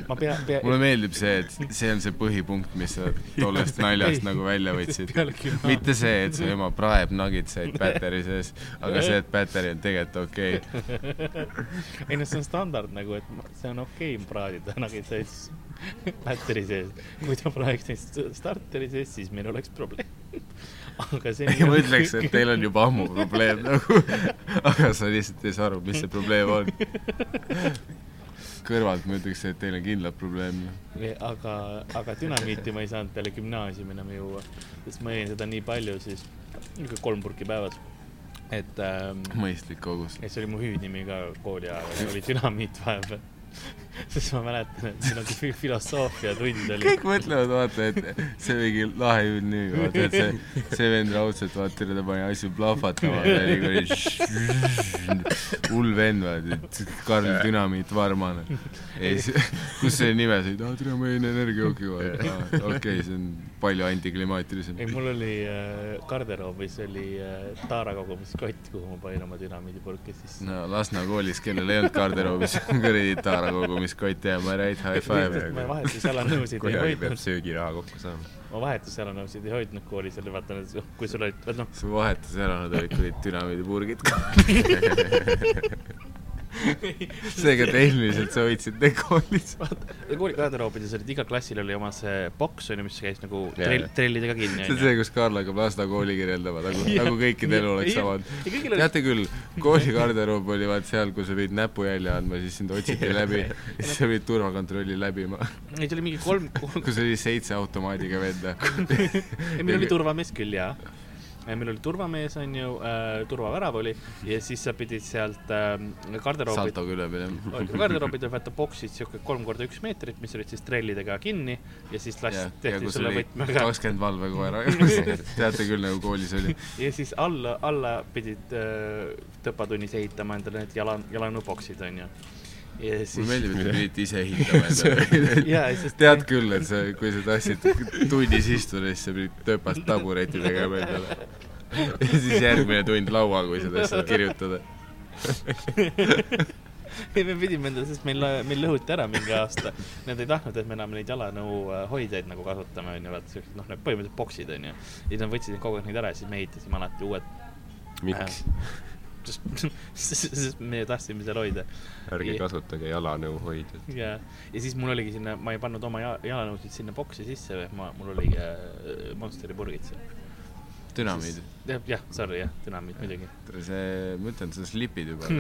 C: ma pea , pea .
B: mulle meeldib see , et see on see põhipunkt , mis sa tollest naljast nagu välja võtsid . mitte see , et su ema praeb nagitsaid päteri sees , aga see , et päteri on tegelikult okei okay. .
C: ei noh , see on standard nagu , et ma- see on okei okay praadida nagitsaid Läteri sees . kui ta praeks neid starteri sees , siis meil oleks probleem . aga see .
B: ja ma ütleks , et teil on juba ammu probleem nagu , <laughs> aga sa lihtsalt ei saa aru , mis see probleem on . kõrvalt ma ütleks , et teil on kindlalt probleem .
C: Nii, aga , aga dünamiiti ma ei saanud peale gümnaasiumi enam juua , sest ma jõin seda nii palju siis , niisugune kolm purki päevas . et ähm, ,
B: mõistlik kogus .
C: ja see oli mu hüüdnimi ka kooli ajal , oli dünamiit vahepeal . <laughs> sest ma mäletan , et siin on fi- filosoofiatund oli .
B: kõik mõtlevad , vaata , et see mingi lahe ju nüüd , vaata , et see , see vend raudselt , vaata , ta pani asju plahvatama , ta oli kuradi hull vend , vaata , Karl Dünamiit Varman . ei , kus see nime sai ? aa , tere , ma jõin energiajooki kohe . okei , see on palju antiklimaatilisem
C: ei ,. mul oli äh, garderoobis oli äh, taarakogumiskott , kuhu ma panin oma dünamiidipurki sisse no. .
B: no Lasna koolis , kellel ei olnud garderoobis <laughs> kuradi taarakogumiskott ja ma ei räägi high
C: ma
B: five .
C: vahetusjalanõusid ei
D: kuidagi peab
C: hoidnud ,
D: söögiraha kokku saama .
C: ma vahetusjalanõusid ei hoidnud koolis , oli vaata , kui sul olid , noh ,
B: su vahetus ära , nad olid kuradi dünamiidipurgid . seega tehniliselt sa võitsid neid koolis .
C: ja kooli garderoobides olid , igal klassil oli oma see boks onju , mis käis nagu
D: Jaa.
C: trell , trellidega kinni
B: see on see , kus Karl hakkab Lasna kooli kirjeldama , nagu , nagu kõikide elu oleks samad .
C: ja kõigil oli ,
B: teate küll , kooli garderoob oli vaat seal , kui sa pidid näpujälje andma , siis sind otsiti läbi , siis sa pidid turvakontrolli läbima ,
C: ei see oli mingi kolm ,
B: kus oli seitse automaadiga venda .
C: ei meil oli turvamees küll jaa . meil oli turvamees onju äh, , turvavärav oli ja siis sa pidid sealt äh, garderoobi
B: saltoga üle minema .
C: garderoobid olid vaata boksid siuke kolm korda üks meetrit , mis olid siis trellidega kinni ja siis lasti , tehti sulle võtmega
B: kakskümmend
C: <laughs>
B: valvekoera , teate küll , nagu koolis oli .
C: ja siis alla , alla pidid äh, tõpatunnis ehitama endale need jala , jalanõuboksid onju . ja
B: mulle
C: siis ,
B: meeldib , et te pidite ise hindama endale .
C: jaa , sest
B: tead küll , et sa , kui sa tahtsid tunnis istuda , siis sa pidid töpast tabureti tegema endale . ja siis järgmine tund laua , kui sa tahtsid kirjutada .
C: ei , me pidime endale , sest meil , meil lõhuti ära mingi aasta . Nad ei tahtnud , et me enam neid jalanõuhoidjaid nagu kasutame , onju , vaata siuksed , noh , need põhimõtteliselt boksid onju . ja siis nad võtsid kogu aeg neid ära ja siis me ehitasime alati uued .
D: miks ?
C: sest , <laughs> sest me tahtsime seal hoida .
D: ärge
C: Ei.
D: kasutage jalanõuhoidjat .
C: ja , ja siis mul oligi sinna , ma ei pannud oma ja- jalanõusid sinna boksi sisse , ma , mul oligi äh, Monsteri purgid seal .
B: dünamiid .
C: jah , jah , sorry , jah , dünamiit muidugi .
B: see , ma ütlen , sa slipid juba .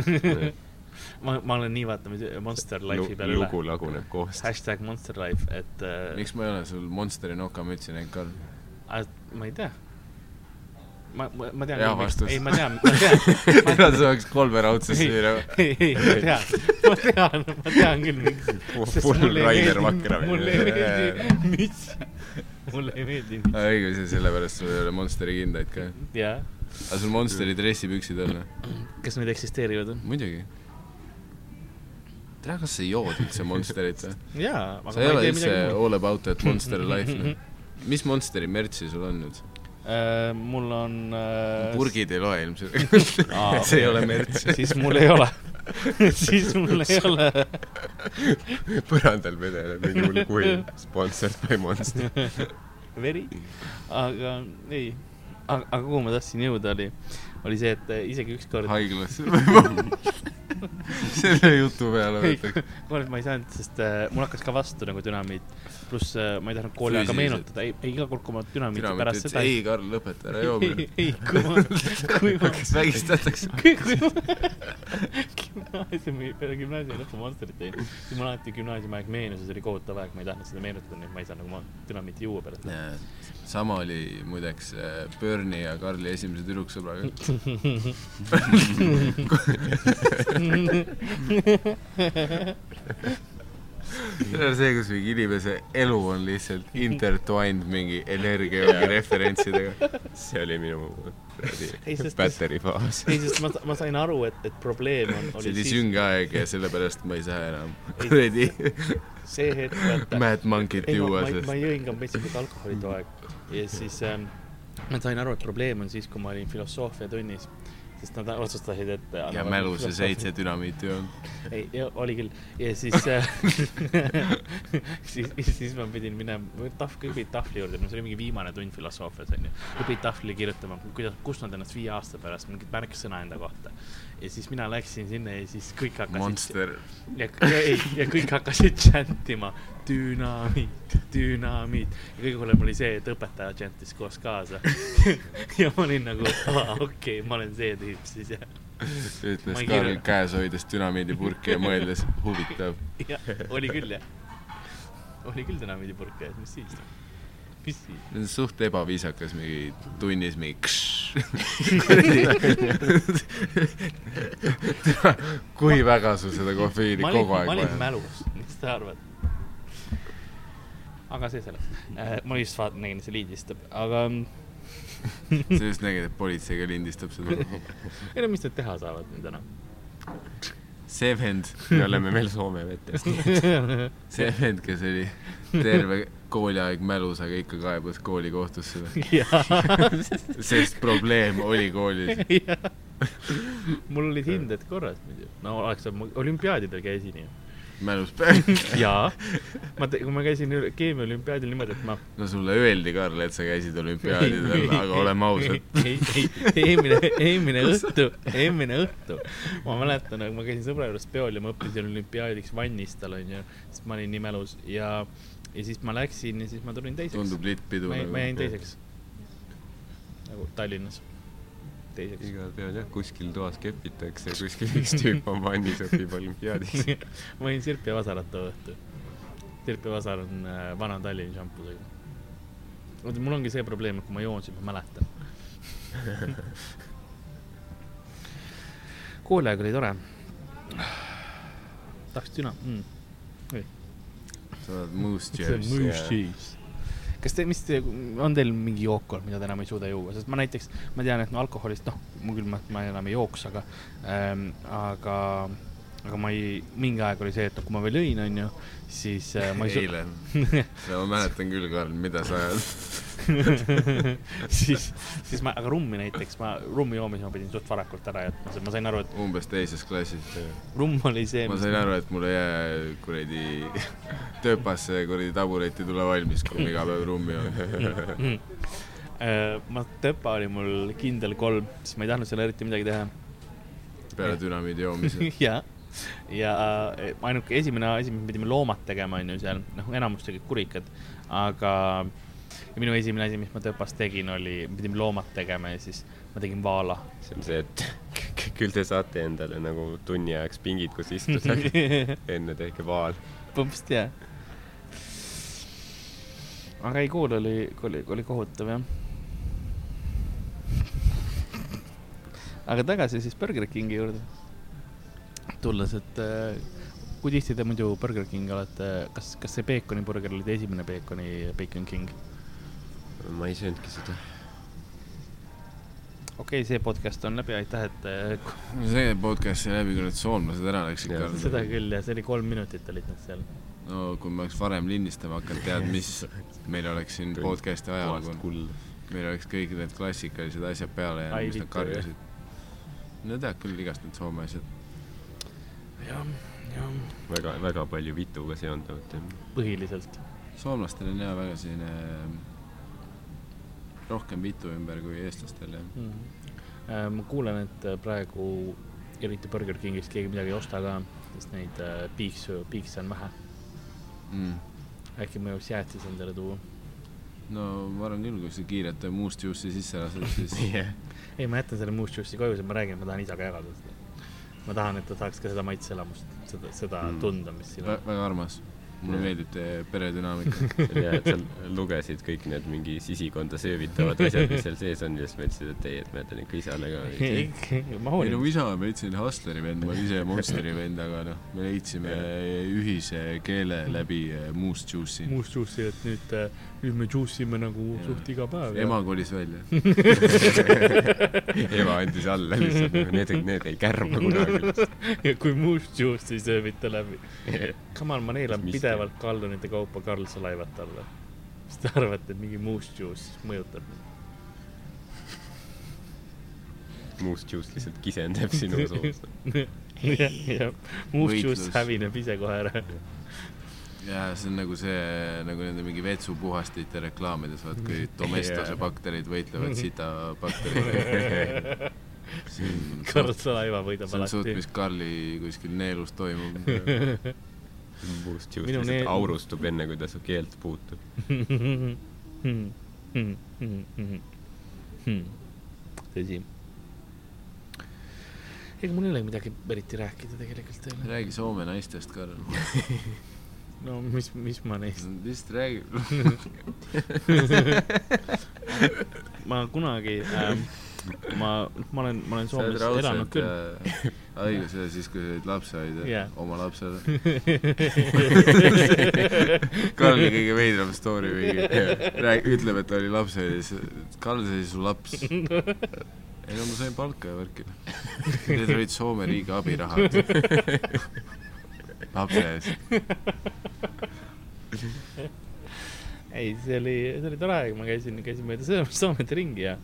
C: ma , ma olen nii vaata muidu Monster Life'i peal üle .
D: lugu laguneb koos .
C: hashtag Monster Life , et äh,
B: miks ma ei ole sul Monsteri nokamütsi näinud
C: <laughs>
B: ka ?
C: Ah, ma ei tea . ma , ma , ma tean .
B: Hea vastus.
C: ei , ma tean , ma
B: <laughs>
C: tean .
B: täna sa peaks kolme raudsesse üürama .
C: ei , ei , ma tean , ma tean , ma tean küll , miks .
D: full Rainer Vakra .
C: mulle ei meeldi müts . mulle ei meeldi müts .
B: õige , see sellepärast sul ei ole Monsteri kindaid ka .
C: jaa ,
B: aga sul Monsteri dressipüksid on noh. või ?
C: kas need eksisteerivad ?
B: muidugi . tea , kas sa
C: <laughs>
B: jood üldse Monsterit või ?
C: jaa ,
B: sa
C: aga
B: ei ole
C: ma ei tee
B: üldse
C: midagi muud .
B: all about that Monster life ,
C: <laughs>
B: noh . mis Monsteri mürtsi sul on nüüd ?
C: Äh, mul on . Äh, <laughs>
B: purgid ei loe ilmselt . <laughs> see ei ole mürts . <laughs>
C: siis mul ei ole . siis mul ei ole .
D: <laughs> põrandal vedeleb mingi hull
C: <laughs>
D: kui sponsored by Monster .
C: veri , aga ei , aga aga kuhu ma tahtsin jõuda , oli , oli see , et äh, isegi ükskord , <laughs>
B: haiglasse . <laughs> selle jutu peale võtaks .
C: kord ma ei saanud , sest äh, mul hakkas ka vastu nagu dünamiit , pluss äh, ma ei tahtnud kooliaega
B: Füüsiliselt.
C: meenutada , ei , ei iga kord , kui ma dünamiiti
B: Dinaamit
C: pärast
B: ütles ,
C: seda
B: ei Karl , lõpeta ära joomine .
C: <laughs> ei , kui ma , kui ma ,
B: kas <laughs> vägistatakse ?
C: kui kui ma gümnaasiumi , peale <laughs> gümnaasiumi lõppu Monsterit tõin , siis mul alati gümnaasiumi aeg meenus ja see oli kohutav aeg , ma ei tahtnud seda meenutada , nii et ma ei saa nagu ma dünamiiti juua pärast .
B: Äh, sama oli muideks äh, Bernie ja Karli esimese tüdruksõbraga . <laughs>
C: <laughs>
B: see on see , kus mingi inimese elu on lihtsalt intertwined mingi energia ja referentsidega .
D: see oli minu
C: Ei, sest-
D: battery faas .
C: ei , sest ma , ma sain aru , et , et probleem on ,
B: see
C: oli
B: oli
C: siis
B: sünge aeg ja sellepärast ma ei saa enam kuradi
C: see hetk ,
B: <laughs>
C: vaata
B: Mad Monkeyt
C: ei , ma
B: juua ,
C: ma ei , ma
B: sest
C: jõin ka metsikult alkoholi too aeg ja siis ähm, ma sain aru , et probleem on siis , kui ma olin filosoofiatunnis , sest nad otsustasid , et .
B: ja mälus ja seitse . dünamiiti ei olnud .
C: ei , oli küll ja siis äh, , <laughs> siis , siis ma pidin minema , tahvli , õpid tahvli juurde , no see oli mingi viimane tund filosoofias onju . õpid tahvli kirjutama , kuidas , kus nad ennast viie aasta pärast , mingit märksõna enda kohta . ja siis mina läksin sinna ja siis kõik hakkasid .
B: Monster .
C: ja , ja ei , ja kõik hakkasid džäntima dünaamit , dünaamit ja kõige hullem oli see , et õpetaja džäntis koos kaasa . <laughs> ja ma olin nagu , okei okay, , ma olen see tüüp siis ja , Ma
B: ütles
C: ei
B: Karl
C: kirjuta.
B: käes hoides dünamiidipurki ja mõeldes , huvitav .
C: ja oli küll jah . oli küll dünaamidi purk ees , mis siis , mis siis .
B: see on suht ebaviisakas mingi tunnis mingi
C: <laughs>
B: kšš . <laughs> kui väga sul seda
C: ma
B: kofeiini
C: olin ,
B: kogu
C: ma
B: aeg
C: olin
B: vaja on ?
C: mälus , mis sa arvad ? aga see selleks äh, , ma just vaatan , nägin , see lindistab , aga
B: <laughs>
C: ei
B: sa just nägid , et politsei ka lindistab seda .
C: <laughs> no mis nad teha saavad nüüd enam .
B: see vend ,
D: me oleme veel Soome
C: <laughs>
D: vetes .
B: see vend , kes oli terve kooliaeg mälus , aga ikka kaebas koolikohtusse ,
C: <laughs>
B: <laughs> sest probleem oli koolis .
C: Jah. <laughs> mul olid hinded korras muidu , no oleks saanud , olümpiaadidel käisin ju .
B: mälus päev .
C: jaa , ma , kui ma käisin üle- keemiaolümpiaadil niimoodi , et ma .
B: <laughs> no sulle öeldi , Karl , et sa käisid olümpiaadidel , aga
C: <laughs>
B: oleme ausad ,.
C: ei , ei , eelmine , eelmine õhtu , eelmine õhtu , ma mäletan , ma käisin sõbra juures peol ja ma õppisin olümpiaadiks vannis tal onju , sest ma olin nii mälus ja , ja siis ma läksin ja siis ma tulin teiseks .
B: tundub littpidu
C: ma jäin- ma jäin
B: nagu .
C: teiseks . nagu Tallinnas , teiseks .
D: igal peal jah , kuskil toas kepitakse ja kuskil üks tüüp on vannis õpib olümpiaadiks .
C: <laughs> ma jõin Sirpi ja Vasarat too õhtu . Sirp ja Vasar on äh, vana Tallinna šampusega . oota , mul ongi see probleem , et kui ma joon , siis ma mäletan . kooliaeg oli tore . tahaks düna mm. .
B: sa oled Moose
C: see on
B: Cheers .
C: mõjus cheese . kas te , mis te , on teil mingi jook olnud , mida te enam ei suuda juua , sest ma näiteks , ma tean , et ma alkoholist , noh , mul küll , ma enam ei jooks , aga ähm, , aga , aga ma ei , mingi aeg oli see , et noh, kui ma veel jõin , onju , siis äh, ma ei su-
B: eile . ma mäletan küll , Karl , mida sa ajad .
C: <laughs> <laughs> siis , siis ma , aga rummi näiteks , ma rummi joomise ma pidin suht varakult ära jätma , sest ma sain aru ,
B: umbes teises klassis .
C: et rumm oli see ,
B: ma
C: mis
B: sain aru , et mul ei jää kuradi <laughs> tööpasse kuradi taburet ei tule valmis , kui ma iga päev rummi joon .
C: mm. . äh, ma , töpa oli mul kindel kolm , siis ma ei tahtnud seal eriti midagi teha
B: peale dünamiidi
C: <laughs>
B: joomisi .
C: ja , ja äh, ainuke esimene asi , mis me pidime loomad tegema , on ju seal , noh , enamus tegid kurikad , aga ja minu esimene asi , mis ma töpas tegin , oli , me pidime loomad tegema ja siis ma tegin vaala .
D: <laughs> see on see , et küll te saate endale nagu tunni ajaks pingid , kus
C: <laughs>
D: istuda . enne tehke vaal .
C: põmpst jah . aga ei , kool oli , oli , oli kohutav jah . aga tagasi siis Burger Kingi juurde tulles , et äh, kui tihti te muidu Burger Kingi olete , kas , kas see peekoniburger oli teie esimene peekoni , Bacon King ?
D: ma ei söönudki seda .
C: okei okay, , see podcast on läbi , aitäh , et <laughs> äh,
B: see podcast sai läbi , kui need soomlased ära läksid ,
D: Jah.
B: Karl .
C: seda küll ja see oli kolm minutit olid nad seal .
B: no kui ma oleks varem lindistama hakanud , tead mis , meil oleks siin
D: Tund-
B: podcast'i ajalugu
D: puhast , kulda .
B: meil oleks kõik need klassikalised asjad peale
C: Ai,
B: jäänud , mis nad
C: vittu, jah.
B: karjusid . no tead küll igast need soome asjad .
C: jah , jah ,
D: väga , väga palju vituga seonduvat .
C: põhiliselt .
B: soomlastel on jah väga selline äh, rohkem vitu ümber kui eestlastel jah .
C: mm. . ma kuulen , et äh, praegu eriti Burger Kingis keegi midagi ei osta ka , sest neid äh, piiksu , piikse on vähe .
B: Mm.
C: äkki mõjuks jäätis endale tuua .
B: no ma arvan küll , kui sa kiirelt muust juusti sisse lased , siis
D: jah .
C: ei , ma jätan selle muust juusti koju , sest ma räägin , et ma tahan isaga jagada seda . ma tahan , et ta saaks ka seda maitseelamust , seda , seda mm.
D: Mm.
C: tunda , mis siin
B: vä <laughs>
C: on .
B: väga armas . mulle
D: Jah.
B: meeldib teie peredünaamika .
D: ja , et sa lugesid kõik need mingi sisikonda söövitavad asjad , mis seal sees on ja siis mõtlesid , et ei , et ma jätan ikka isale ka .
C: ma
D: <laughs>
B: ei no
C: hoolin .
B: isa on veits selline hustleri vend , ma olen ise Monsteri vend , aga noh , me leidsime ühise keele läbi äh, muust juusti .
C: muust juusti , et nüüd , nüüd me juice ime nagu
B: Jaa.
C: suht iga päev .
B: ema kolis välja .
D: ema andis alla lihtsalt , need , need ei kärba kunagi .
C: <laughs> ja kui muust juust ei söö mitte läbi .
B: <laughs>
C: Kamal , ma neelan
D: Mis
C: pidevalt gallonite kaupa Karlsa laevat alla . mis te arvate , et mingi muust juust mõjutab mind ?
D: muust juust lihtsalt kisendab sinu suust .
C: <laughs> jah , jah , muust juust
B: Võitlus.
C: hävineb ise kohe ära .
B: ja see on nagu see , nagu nende mingi vetsupuhastite reklaamides , vaat kui Domestose bakterid võitlevad sita bakteritega . <laughs> see on suht-
C: Karlsa laeva võidab
B: see on suht ,
C: alati <laughs>
B: mis . Karli kuskil neelus toimub .
D: muust juust
C: Minu
D: lihtsalt
C: neel-
D: aurustub enne , kui ta su keelt puutub .
C: Hmm, hmm. tõsi . ega mul ei ole midagi eriti rääkida tegelikult veel .
B: räägi Soome naistest , Karl .
C: no mis , mis ma neist
B: lihtsalt räägi .
C: ma kunagi ähm, , ma , ma olen , ma olen Soomes elanud
B: äh,
C: küll .
B: haiguse siis , kui sa olid lapsehoidja
C: Jah. ,
B: oma lapsele . Karli kõige veidram story või räägi , ütleb , et ta oli lapsehoidja , siis Karl , see oli su laps . ei no ma sain palka ja värki . Need olid Soome riigi abirahad . lapse eest .
C: <laughs> ei , see oli , see oli tore aeg , ma käisin , käisin mööda Soo- Soomet ringi ja ,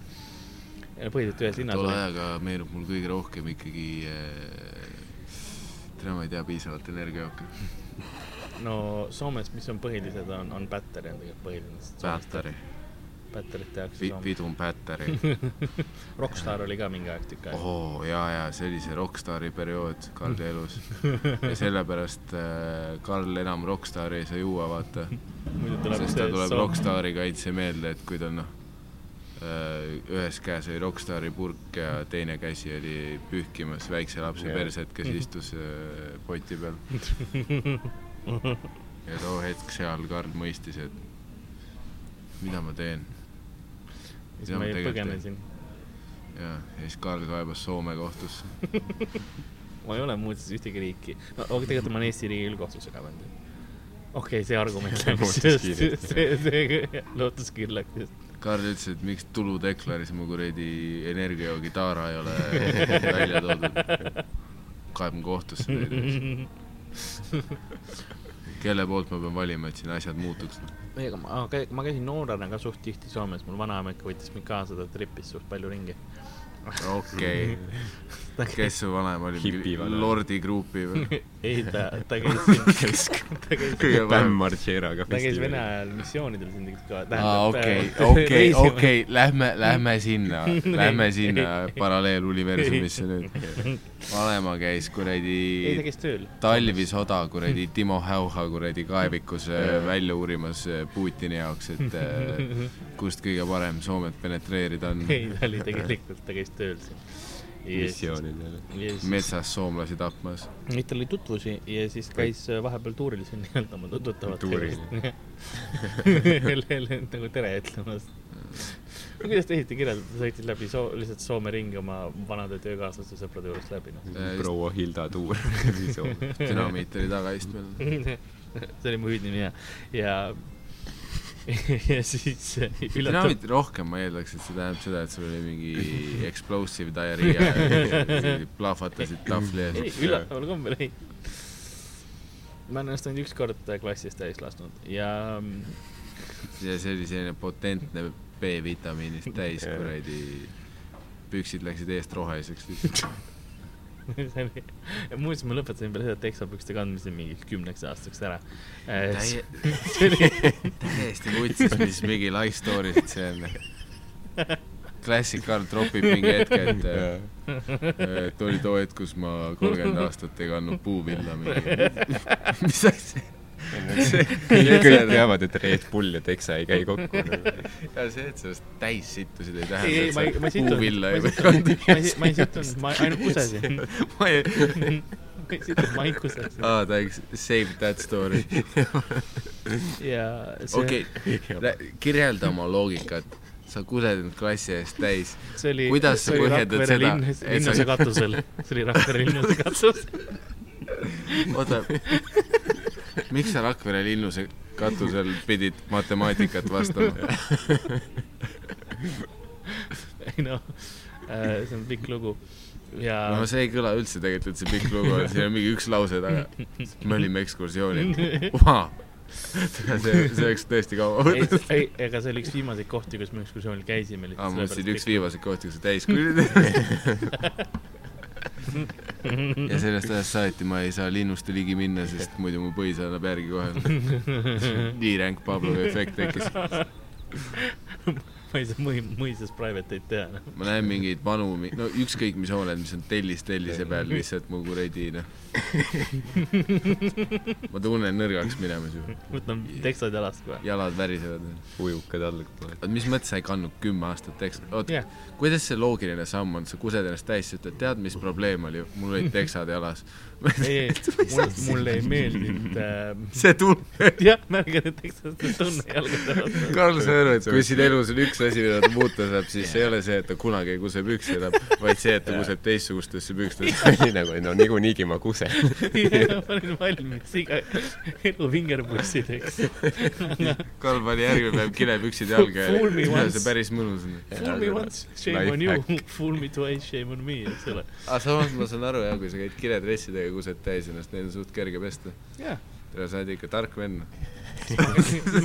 C: ja põhiliselt ühes linnas
B: tolle
C: oli .
B: ajaga meenub mul kõige rohkem ikkagi äh, täna ma ei tea piisavalt energiajooki .
C: no Soomes , mis on põhilised , on , on Pätter on tegelikult põhiline .
B: Pätari ,
C: Pätterit tehakse Soomes .
B: pidun Pätari .
C: Rockstar oli ka mingi aeg tükk aega .
B: oo , ja , ja see oli see rokkstaari periood Karli elus ja sellepärast äh, Karl enam rokkstaari ei saa juua , vaata ,
C: muidu tuleb
B: sest ta
C: see
B: tuleb
C: Soome ,
B: rokkstaari kaitse meelde , et kui ta noh , ühes käes oli rokkstaari purk ja teine käsi oli pühkimas väikse lapse
D: Jah.
B: perset , kes istus äh, poti
C: <laughs>
B: peal ja too hetk seal Karl mõistis , et mida ma teen
C: siis
B: Jah,
C: ma
B: tegelikult
C: põgenesin .
B: ja , ja siis Karl kaebas Soome kohtusse .
C: ma ei ole muuseas ühtegi riiki , no aga tegelikult ma olen Eesti riigi üldkohtuse ka pannud . okei okay, , see
B: <laughs>
C: argument läks just , see ,
D: Lootuskiireks.
C: see lootuskiir läks just .
B: Karl ütles , et miks tuludeklaris mu kuradi energiajoogi taara ei ole välja toodud . kaeban kohtusse teid , eks . kelle poolt ma pean valima , et siin asjad muutuks ?
C: ei , aga ma , ma käisin noorena ka suht tihti Soomes , mul vanaema ikka võttis mind kaasa , ta tripis suht palju ringi .
B: okei okay. , kes su vanem oli ?
D: Hipi vanaema.
B: Lordi gruupi või ?
C: ei , ta , ta
B: <laughs>
C: käis , <laughs> ta käis ,
B: kõige
D: Bam
B: parem .
D: Margeraga
C: ta käis Vene
D: festivalil .
C: ajal missioonidel siin tegelikult ka .
B: aa , okei ,
C: <laughs>
B: okei , okei , lähme , lähme sinna , lähme sinna paralleeluniversumisse nüüd . vanema käis
C: ei ,
B: kuradi
C: ta käis tööl .
B: talvisoda
C: Hmm.
B: kuradi Timo Häuha kuradi kaevikus äh, välja uurimas äh, Putini jaoks , et
C: <laughs>
B: äh, kust kõige parem Soomet penetreerida on .
C: ei , ta oli tegelikult , ta käis tööl siin .
D: missioonidel .
C: Mets- .
B: metsas soomlasi tapmas .
C: nüüd tal oli tutvusi ja siis käis äh, vahepeal tuuril siin nii-öelda oma
D: Tuuril.
C: tuttavatega . nagu tere ütlemas . kuidas teisiti kirjeldada , ta sõitis läbi soo- , lihtsalt Soome ringi oma vanade töökaaslaste sõprade juurest läbi , noh . <laughs>
D: proua Hilda Tuur <laughs> läbi Soome .
B: dünamiit oli tagaistmel .
C: see oli mu hüüdnimi ja , ja , <laughs> ja siis äh, üllatav ,
B: dünamiit rohkem ma eeldaks , et see tähendab seda , et sul oli
C: <laughs>
B: mingi explosive diarrhea ja plahvatasid tahvli
C: ei
B: ees .
C: üllataval kombel ei . ma olen ennast ainult üks kord klassis täis lasknud ja mm,
B: ja see oli selline potentne B-vitamiinist täis kuradi , püksid läksid eest roheliseks lihtsalt .
C: <laughs> muuseas , ma lõpetasin peale seda teksapükste kandmise mingiks kümneks aastaks ära .
B: <laughs>
C: see
B: täiesti vutsis , mis mingi life story'st see on . Classic Art tropib mingi hetk , et äh, et oli too hetk , kus ma kolmkümmend aastat ei kandnud puuvilla mingi . mis asja ?
D: kõik teavad , et Red Bull ja Texa ei käi <laughs> kokku .
B: ja see , et sellest täis sittusid , ei
C: Ei, ei, ma ei-
B: tähenda ,
C: ma ei
B: et sa
C: sittunud.
B: puuvilla
C: Ma
B: ei või kanda .
C: ei sittunud. ma ei , ma ei sittunud , ma
B: <laughs>
C: ainult kusesin .
B: ma ei ,
C: ma ei sittunud , ma ainult kusesin
B: aa , thanks , save that story .
C: ja see okay. ,
B: okei , kirjelda oma loogikat . sa kused end klassi ees täis .
C: see oli ,
B: kuidas sa
C: see oli
B: põhjendad
C: Rakvere
B: seda,
C: linnas ,
B: et sa-
C: linnase katusel , see oli
B: <laughs>
C: Rakvere linnase katusel .
B: oota , miks sa Rakvere linnuse katusel pidid matemaatikat vastama ?
C: ei noh , see on pikk lugu ja
B: no see ei kõla üldse tegelikult , et see pikk lugu on , siin on mingi üks lause taga . me olime ekskursioonil . see , see oleks tõesti kaua
C: <laughs> ei
B: võtnud .,
C: ei , ega see oli üks viimaseid kohti , kus me ekskursioonil käisime .
B: aa , ma mõtlesin , et üks viimaseid kohti , kus sa täis kuulid . ja sellest ajast saati ma ei saa linnust ligi minna , sest muidu mu põis annab järgi kohe . nii ränk Pavlovi efekt tekkis .
C: ma ei saa mõi- , mõisas private eid teha . noh.
B: ma näen mingeid vanu , no ükskõik mis hooned , mis on tellis tellise peal , lihtsalt mu kuradi noh . ma tunnen nõrgaks minemas ju ,
C: võtan teksad jalast kohe .
B: jalad värisevad .
D: ujukad <laughs> allapoole .
B: oot , mis mõttes sa ei kandnud kümme aastat tekst , oota
C: Jah. ,
B: kuidas see loogiline samm on , sa kused ennast täis , sa ütled , tead , mis probleem oli , mul olid teksad jalas .
C: <laughs> ei , ei , mul , mulle ei meeldinud <laughs> äh, .
B: see tunne ,
C: jah , märgad , et tekstlaste tunne jalgade <laughs> vastu .
B: Karl , sa arvad , kui siin elus on üks asi , mida ta muuta saab , siis see ei ole see , et ta kunagi ei kuse püksi enam , vaid see , et ta kuseb teistsugustesse pükstesse .
D: nii nagu , no niikuinii ma kusen .
C: ma olin valmis iga elu vingerpussideks .
B: Karl pani järgmine päev kilepüksid jalga
C: Fool me
B: ja
C: once.
B: see päris mõnus on .
C: <laughs> Fool me once , shame on you . <laughs> Fool me twice , shame on me , eks ole .
B: aga samas ma saan aru jah , kui sa käid kiledressidega , kused täis ennast , neil on suht kerge pesta .
C: jah ,
B: tere , sa oled ikka tark vend .
C: <laughs>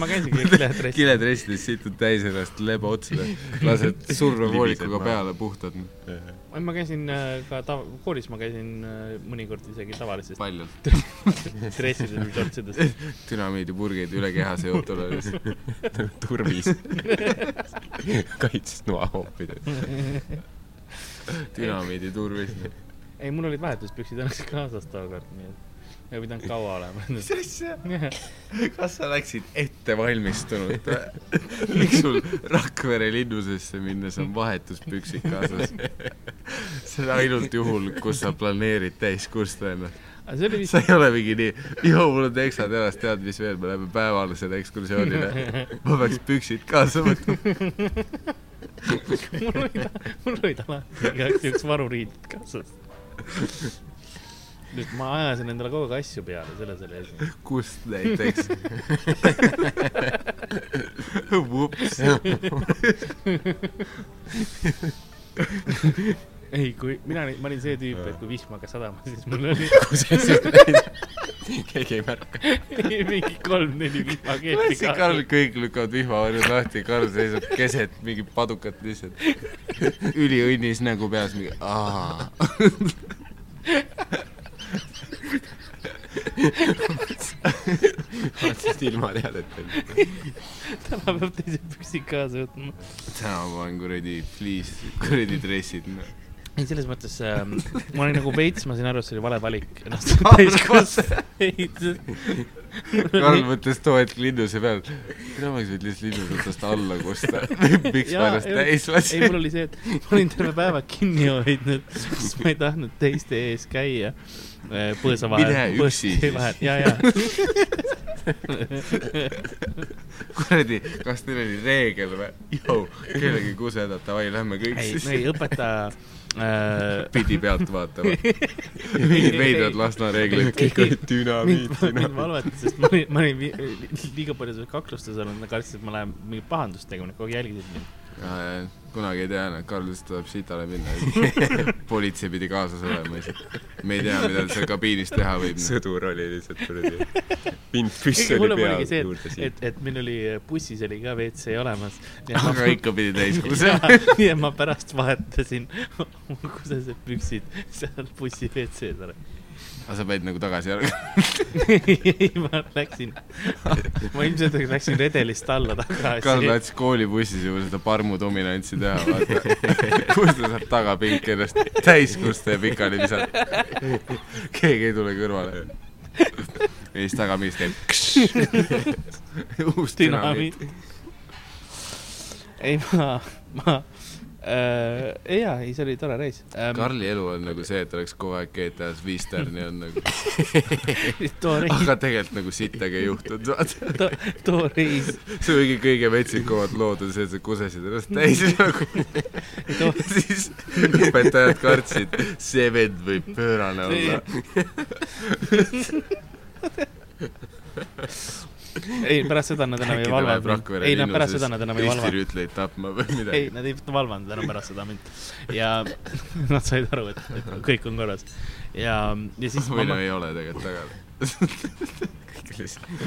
C: ma käisin kõik kiledressi .
B: kiledressides situd täis ennast lebo otsa , <laughs> lased surra
D: Libised
B: voolikuga
D: maha.
B: peale puhtad ,
C: ma käisin äh, ka tav- , koolis ma käisin äh, mõnikord isegi tavalises
B: paljalt .
C: dressides või shortsides .
B: dünamiidipurgid üle keha seotud olles .
D: turvis . <laughs> kaitses noa <laughs> hoopis .
B: dünamiiditurvis .
C: ei , mul olid vahetuspüksid õnneks kaasas tookord , nii et ma ei pidanud kaua olema .
B: mis asja ? kas sa läksid <laughs> ettevalmistunult või ? miks sul Rakvere linnusesse minnes on vahetuspüksid <laughs> kaasas ? see on ainult juhul , kus sa planeerid täis kusta ennast .
C: aga see
B: <laughs>
C: oli vist
B: sa ei ole mingi nii , joo , mul on teksad jalas , tead , mis veel , me läheme päevalisele ekskursioonile . ma peaks püksid kaasa võtma .
C: mul olid , mul olid alati igaks juhuks varuriided kaasas . nüüd ma ajasin endale kogu aeg asju peale , selles oli asi .
B: kust näiteks ? <laughs> Vups .
C: ei , kui mina , ma olin see tüüp , et kui vihm hakkas sadama , siis mul oli
D: keegi ei märka .
C: <laughs> mingi kolm-neli vihmakeepi
B: klassik Karl , kõik lükkavad vihmavarjud lahti , Karl seisab keset mingit padukat lihtsalt . üliõnnis nägu peas , mingi aa .
D: vaatasid ilma teadeta .
C: täna peab teised püksid kaasa võtma .
B: täna ma olen kuradi fliis , kuradi dressid .
C: ei , selles mõttes ähm, ma olin nagu veits , ma sain aru , et see oli vale valik ennast täiskasvanud . <laughs> ei ,
B: Karl mõtles too hetk linnuse peal , mina oleks võinud lihtsalt linnuse otsast alla
C: <laughs>
B: kusta . miks ma
C: Jaa,
B: ennast
C: ei,
B: täis
C: ei ,
B: lasin ?
C: mul oli see , et ma olin terve päeva kinni hoidnud , sest ma ei tahtnud teiste ees käia eh, põõsa vahel .
B: Mine üksi siis.
C: ja ,
B: <laughs>
C: ja ,
B: kuradi , kas teil oli reegel või ? joo , kellegi kusedat , davai , lähme kõik
C: ei ,
B: siis
C: ei . õpetaja äh, .
B: pidi pealt vaatama . mingid veidrad Lasna reeglid .
D: kõik olid dünamiit ,
C: mind
D: dünamiit .
C: valvati , sest ma olin , ma olin vi- liiga palju selles kaklustes olnud , nad kartsid , et ma lähen mingit pahandust tegema , nad kogu aeg jälgisid mind .
B: kunagi ei tea , noh , Karl lihtsalt tahab sitale minna . politsei pidi kaasas olema lihtsalt . me ei tea , mida seal kabiinis teha võib . noh.
D: sõdur oli lihtsalt kuradi , pintpüss
C: kõige
D: oli
C: hullem
D: peal
C: oligi see ,
D: juurde
C: et ,
D: siin .
C: et , et meil oli äh, bussis oli ka WC olemas .
B: aga ikka pidi täis
C: <laughs> ja
B: kuulama .
C: ja ma pärast vahetasin oma kusesed püksid seal bussi WC-s ära .
B: aga sa panid nagu tagasi ära .
C: ei , ma läksin , ma ilmselt läksin redelist alla
B: Karl
C: tagasi .
B: tahtis koolibussis juba seda parmu dominantsi teha , vaata . <laughs> kus ta saab tagapink ennast täiskuste ja pikali visata . <laughs> keegi ei tule kõrvale . ja siis tagapingis <laughs> käib . uus dünamiit .
C: dünamiit . ei , ma , ma äh, , jaa , ei , see oli tore reis ähm, .
B: Karli elu on nagu see , et oleks kogu aeg GTA-s viis tärni on nagu ,
C: <laughs> too reis ,
B: aga tegelikult nagu sittagi ei juhtunud , vaata .
C: too reis ,
B: see oligi kõige metsikumad lood on see , et sa kusesid ennast täis nagu
C: too
B: ja <laughs> siis õpetajad kartsid , see vend võib pöörane olla .
C: ei , pärast seda nad enam ei
B: äkki ta läheb
C: valvanud mind .
B: Rakvere
C: ei , nad
B: linnuses
C: pärast seda nad enam ei valvanud .
B: ristirüütleid tapma või
C: ei ,
B: midagi .
C: nad ei valvanud enam pärast seda mind ja <laughs> nad said aru , et et kõik on korras ja , ja siis ma
B: või , no ei ole tegelikult
C: <laughs>
B: tagala .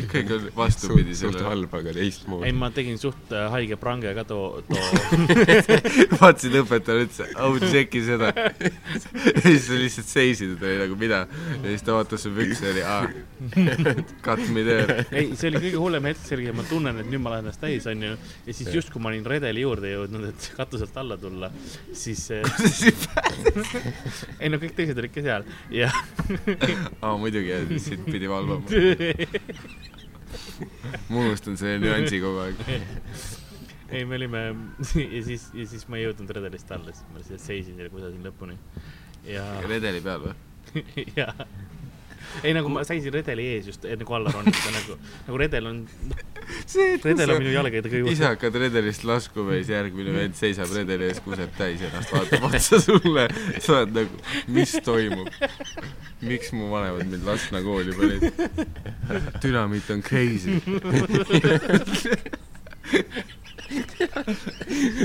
B: kõik on vastupidi
D: suht , suht
B: sellele .
D: halb , aga
C: ei ,
D: teistmoodi .
C: ma tegin suht äh, haige prange ka too , too
B: <laughs>
C: <laughs>
B: vaatasin õpetajale , ütlesin , au tšeki
C: <laughs>
B: seda . ja siis sa lihtsalt seisid , ta oli nagu mida . ja siis ta vaatas su pükse ja oli
C: <laughs>
B: aa , cut me there .
C: ei , see oli kõige hullem hetk , see oli , ma tunnen , et nüüd ma lähen ennast täis , onju . ja siis just , kui ma olin redeli juurde jõudnud , et katuselt alla tulla , siis äh, , ei no kõik teised olid ka seal ja
B: <laughs>
C: <laughs>
B: aa muidugi , ja siis siit pidi valvama .
C: ei ,
B: ma unustan selle nüansi kogu
C: <laughs>
B: aeg .
C: me olime ja siis , ja siis ma ei jõudnud redelist alla , siis ma lihtsalt seisin seal kusagil lõpuni ja
B: redeli peal või ?
C: <laughs> jaa . ei , nagu ma seisin redeli ees just enne kui alla ronida , nagu , nagu redel on ,
B: see , et
C: redel on minu jalgade
B: ise
C: kõige .
B: hakkad redelist laskuma ja siis järgmine vend seisab redeli ees , kuseb täis ennast , vaatab otsa sulle . sa oled nagu , mis toimub ? miks mu vanemad mind Lasna kooli panid ? dünamiit on crazy .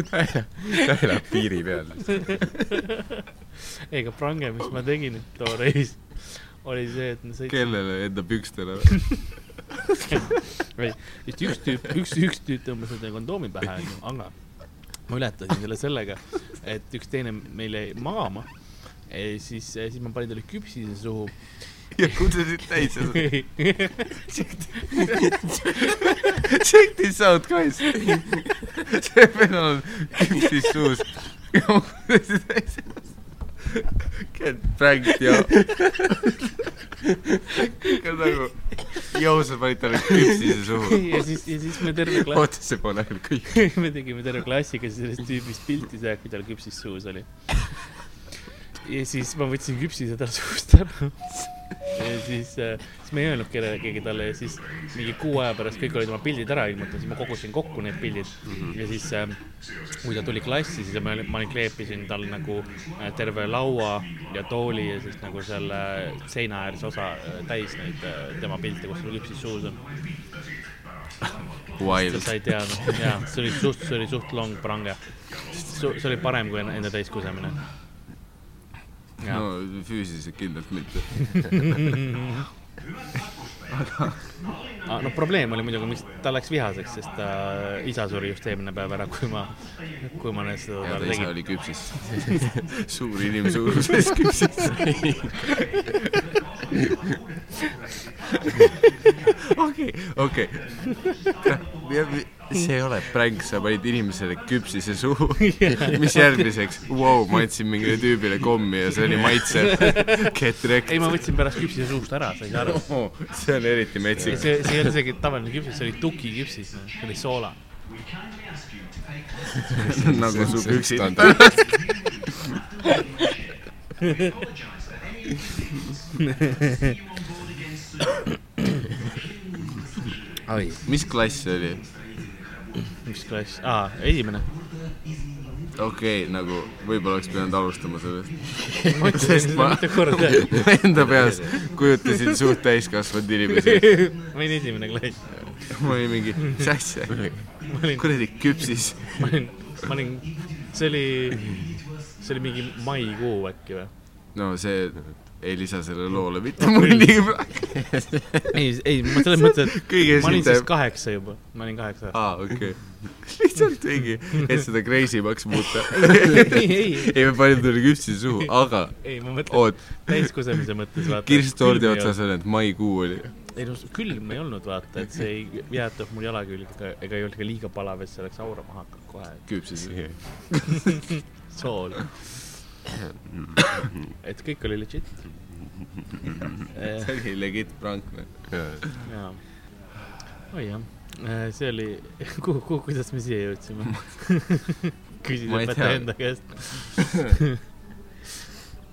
D: ta elab piiri peal .
C: ei , aga prange , mis ma tegin too reis , oli see , et ma sõitsin ,
B: kellele ? enda pükstele või ?
C: just üks tüüp , üks , üks tüüp tõmbas endale kondoomi pähe , onju , aga ma ületasin selle sellega , et üks teine meil jäi magama . siis , siis ma panin talle küpsise suhu .
B: ja kutsusid täis ja sa-
C: ei ,
B: check this out guys . see vend on küpsis suus . ja ma kutsusin täis . Get pranked ja . ikka nagu , jõu sa panid talle küpsise suhu .
C: <laughs> ja siis , ja siis me terve
B: Oh,
C: klass .
D: oota , see pole ainult kõik .
C: <laughs> me tegime terve klassiga sellest tüübist pilti , see , kui tal küpsis suus oli . ja siis ma võtsin küpsise tal suust ära . ja siis , siis me ei öelnud kellelegi talle ja siis mingi kuu aja pärast kõik olid oma pildid ära ilmutanud , siis ma kogusin kokku need pildid ja siis äh, kui ta tuli klassi , siis ma , ma kleepisin tal nagu äh, terve laua ja tooli ja siis nagu selle seina äärse osa äh, täis neid äh, tema pilte , kus tal küpsis suus on . sa
B: Wild .
C: sai teada , jaa , see oli suht , see oli suht long prange . see oli parem kui enne- enda täiskusemine .
B: no füüsiliselt kindlalt mitte .
C: aga noh , probleem oli muidugi , miks ta läks vihaseks , sest ta isa suri just eelmine päev ära , kui ma , kui ma nüüd seda
B: ja ta
C: talle
B: ise
C: tegin .
B: oli
C: <laughs>
B: küpsis . suur inimsuuruses küpsis . okei , okei . see ei ole pränk , sa panid inimesele küpsise suhu . mis järgmiseks wow, ? ma andsin mingile tüübile kommi ja see oli maitsev . Get wrecked
C: ei , ma võtsin pärast küpsise suust ära , sa ei saa aru .
B: oh, . see on eriti
C: see ,
B: metsik .
C: see ei olnud isegi tavaline küpsis , see oli tukiküpsis , see oli soola .
B: nagu su püksid . mis klass see oli ?
C: mis klass , aa , esimene . <laughs>
B: okei okay, , nagu võib-olla oleks pidanud alustama sellest .
C: ma ütlesin
B: Sest
C: seda
B: ma-
C: mitu korda ,
B: ma <laughs> enda peas kujutasin suht täiskasvanud inimesi .
C: ma olin esimene klass .
B: ma olin mingi , mis asja ?
C: ma olin ,
B: kuradi küpsis .
C: ma olin , ma olin , see oli , see oli mingi maikuu äkki või ?
B: no see ei lisa sellele loole mitte mõndagi praegu .
C: ei , ei , ma selles mõttes ,
B: kõige Ah.
C: et ma olin siis
B: esimene .
C: kaheksa juba , ma olin kaheksa aastane .
B: aa ,
C: <laughs>
B: okei . lihtsalt mingi , et seda crazy maks muuta .
C: <laughs> ei , ei ,
B: ei , me panime talle küpsi suhu , aga
C: ei , ma mõtlen
B: oot ,
C: täiskusemise mõttes vaata .
B: kirstuordi otsas oli , et maikuu oli .
C: ei no s- külm ei olnud vaata , et see ei jäätud mul jala külge ega ei olnud ka liiga palav , et see oleks aurama hakanud kohe ,
B: küpsis . <coughs>
C: sool . et kõik oli
B: <coughs>
C: legit . Eh,
B: see oli legit prank , noh .
C: jaa . oi jah , see oli , <laughs> kuhu , kuhu , kuidas me siia jõudsime ? <laughs> küsis
B: Ma ei
C: õpetaja
B: tea.
C: enda käest .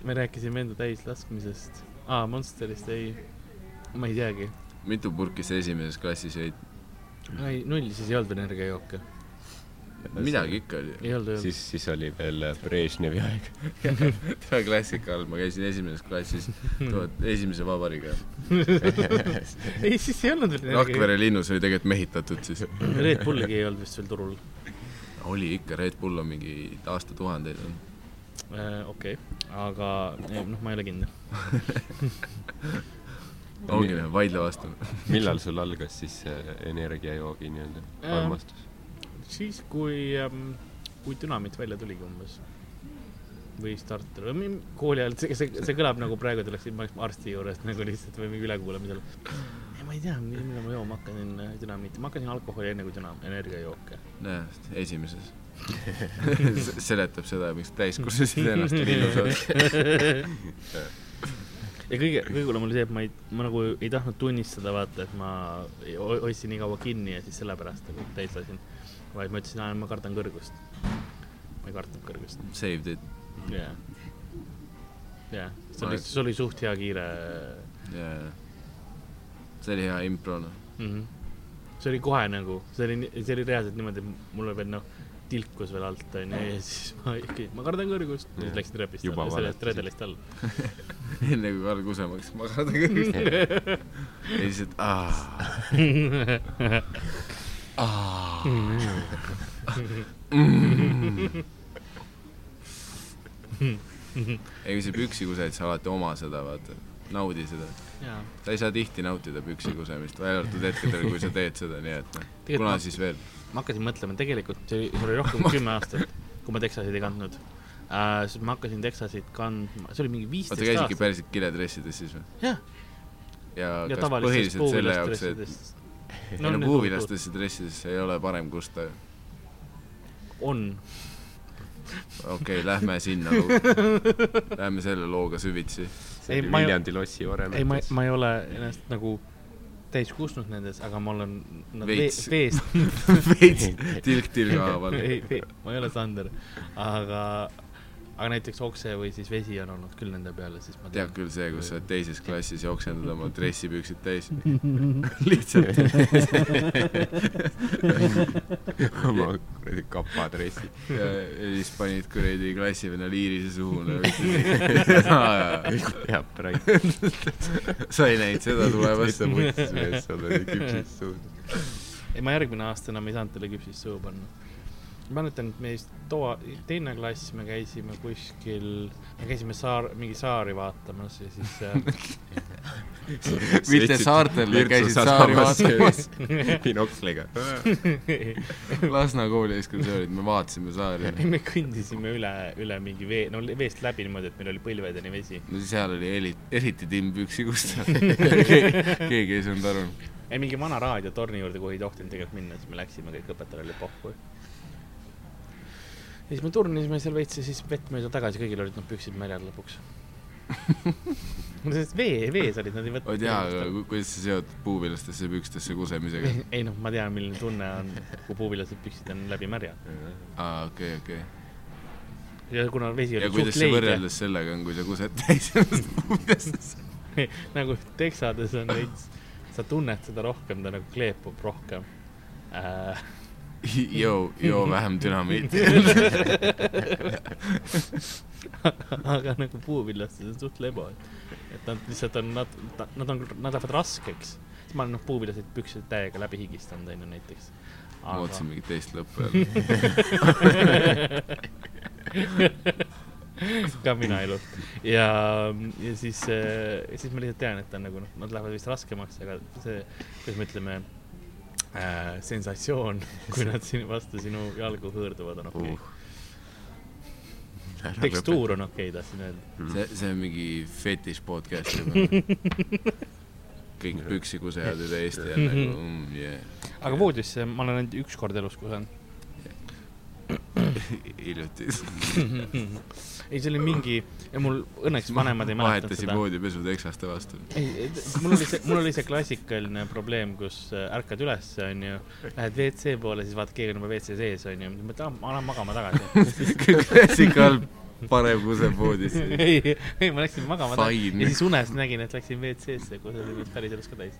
C: me rääkisime enda täislaskmisest . aa , Monsterist ei , ma ei teagi .
B: mitu purki sa esimeses klassis jõid ?
C: ei , null siis ei olnud energiajooke .
B: midagi ikka oli .
C: ei olnud , ei olnud .
D: siis , siis oli veel äh, Brežnevi aeg .
B: täna klassika all ma käisin esimeses
C: <laughs>
B: klassis , tuhat , esimese vabariga .
C: ei , siis ei olnud veel energiajooke .
B: Rakvere linnus oli tegelikult mehitatud siis .
C: Red Bulligi ei olnud vist veel turul
B: oli ikka , Red Bull on mingi aastatuhandeid on .
C: äh, . okei okay. , aga eh, noh , ma ei ole kindel .
B: ongi , vaidle vastu .
D: millal sul algas siis see energiajoogi nii-öelda
C: Ähm.
D: armastus ?
C: siis , kui ähm, , kui Dünamit välja tuligi umbes või starter või mi- kooli ajal , see , see , see kõlab nagu praegu ta oleks , ma oleks arsti juures nagu lihtsalt või mingi ülekuulamisel . ei , ma ei tea , millal ma jooma hakkasin äh, Dünamit , ma hakkasin alkoholi enne kui Dünam , energiajooke .
B: näe , esimeses . <laughs> seletab seda , miks täiskasvanud ennast ei ilusa .
C: ja kõige , kõige hullem oli see , et ma ei , ma nagu ei tahtnud tunnistada , vaata , et ma ei- ho- hoidsin nii kaua kinni ja siis sellepärast nagu täis lasin . vaid ma ütlesin , et ma kardan kõrgust . ma ei kartnud kõrgust .
B: Saved it .
C: jah . jah , see oli ,
B: Aeg.
C: see oli suht hea kiire äh,
B: see oli hea impro , noh . <laughs>
C: mm . -hmm. see oli kohe nagu , see oli , see oli reaalselt niimoodi , et mul oli veel noh , tilkus veel alt onju ja siis ma ikkagi , ma kardan kõrgust .
D: Jah.
C: siis läksin trepist
D: Juba
C: alla , sellest
D: valetasid.
C: redelist alla .
B: enne kui Karl kusema hakkas magada kõigist . ja siis , et aa , <laughs> ei kui sa püksi kused , sa alati oma seda , vaata . naudi seda .
C: jaa ,
B: sa ei saa tihti nautida püksi kusemist , välja arvatud hetkedel , kui sa teed seda , nii et noh .
C: Tegelikult
B: kuna
C: ma-
B: siis veel ?
C: ma hakkasin mõtlema , tegelikult see oli , see oli
B: <laughs>
C: rohkem kui kümme aastat , kui ma Texaseid ei kandnud uh, . siis ma hakkasin Texaseid kandma , see oli mingi
B: oota ,
C: viisteist
B: käisidki
C: aastat .
B: päriselt kiledressides siis või ?
C: jah ,
B: ja
C: ja
B: kas
C: tavalistest
B: põhiliselt selle jaoks , et
C: puuvilastressidest .
B: no, no puuvilastesse dressidesse ei ole parem kusta ju .
C: on ,
B: okei okay, , lähme sinna .
C: <laughs>
B: Lähme selle looga süvitsi .
D: see
C: Ei,
D: oli
C: ma ei-
D: Viljandi lossi
C: ei , ma ,
D: oremetes .
C: ma ei ole ennast nagu täis kustnud nendes , aga ma olen nad vee-
B: Veits.
C: veest ,
B: veits tilk tilga haaval .
C: ei , ei , ma ei ole Sander , aga , aga näiteks okse või siis vesi on olnud küll nende peal ja siis ma
B: tead
C: tean .
B: küll see , kus sa oled teises klassis jooksendad oma dressipüksid täis . lihtsalt .
D: oma kuradi kapadressi .
B: ja ja siis panid kuradi klassivenna liirise suhu . <laughs>
D: teab praegu .
B: sa ei näinud seda tulemas .
D: sa mõtlesid , et sa oled küpsis suus .
C: ei , ma järgmine aasta enam ei saanud talle küpsist suhu panna . ma mäletan , et meist too , teine klass , me käisime kuskil , me käisime saar , mingi saari vaatamas ja siis äh,
B: mitte saartel , vaid käisid saari vaatamas ..
D: binokliga .
C: äh,
B: <laughs> Lasna kooli ekskursioonid , me vaatasime saari .
C: <laughs> ei , <laughs> me kõndisime üle , üle mingi vee , no veest läbi niimoodi , et meil oli põlvedeni vesi .
B: no seal oli eri- , eriti timm püksi , kus
C: <laughs>
B: ta keegi ei saanud aru .
C: ei , mingi vana raadiotorni juurde , kuhu ei tohtinud tegelikult minna , siis me läksime , kõik õpetajal oli pohhu . ja siis me turnisime seal veits ja siis vett mööda tagasi , kõigil olid need püksid märjad
B: <laughs>
C: lõpuks . sest vee , vees olid , nad ei
B: ma ei
C: võtnud .
B: tea , aga ku- kuidas sa seod puuvilastesse pükstesse
C: <laughs>
B: kusemisega ?
C: ei noh , ma tean , milline tunne on , kui puuvilased püksid on läbi märjad .
B: aa , okei , okei .
C: ja kuna
B: ja
C: vesi oli
B: kuidas
C: suht
B: see
C: leige ,
B: võrreldes sellega on , kui sa kused täis ennast puuvilastesse ?
C: nagu Texades on veits , sa tunned seda rohkem , ta nagu kleepub rohkem äh, .
B: joo , joo vähem dünamiiti .
C: <laughs> aga nagu puuvillastes on suht lebo , et , et nad lihtsalt on , nad , nad on , nad lähevad raskeks . siis ma olen noh , puuvillaseid püksid täiega läbi higistanud onju näiteks .
B: ma
C: aga
B: ootasin mingit teist lõppu jälle .
C: ka mina elu ja , ja siis , siis ma lihtsalt tean , et ta on nagu noh , nad lähevad vist raskemaks , aga see , kuidas me ütleme äh, , sensatsioon , <laughs> kui nad siin vastu sinu jalgu hõõrduvad , on okei okay. . tekstuur on okei okay, , tahtsin öelda .
B: see , see on mingi fetiš podcast
C: <laughs>
B: juba . kõik püksikusejad üle Eesti
C: <laughs>
B: on nagu mm, , yeah , <laughs>
C: aga voodisse ma olen ainult üks kord elus kusagil .
B: hiljuti .
C: ei , see oli mingi , mul õnneks vanemad ei mäleta
B: vahetasid
C: seda .
B: voodipesu teksaste vastu .
C: ei , mul oli see , mul oli see klassikaline probleem , kus äh, ärkad üles , onju , lähed WC poole , siis vaatad , keegi on juba WC sees , onju , ma tahan , ma lähen magama tagasi .
B: klassikal <laughs> parem kuse voodisse .
C: ei , ei , ma läksin magama tagasi
B: Fine.
C: ja siis unes nägin , et läksin WC-sse , kus oli mind päris elus ka täis .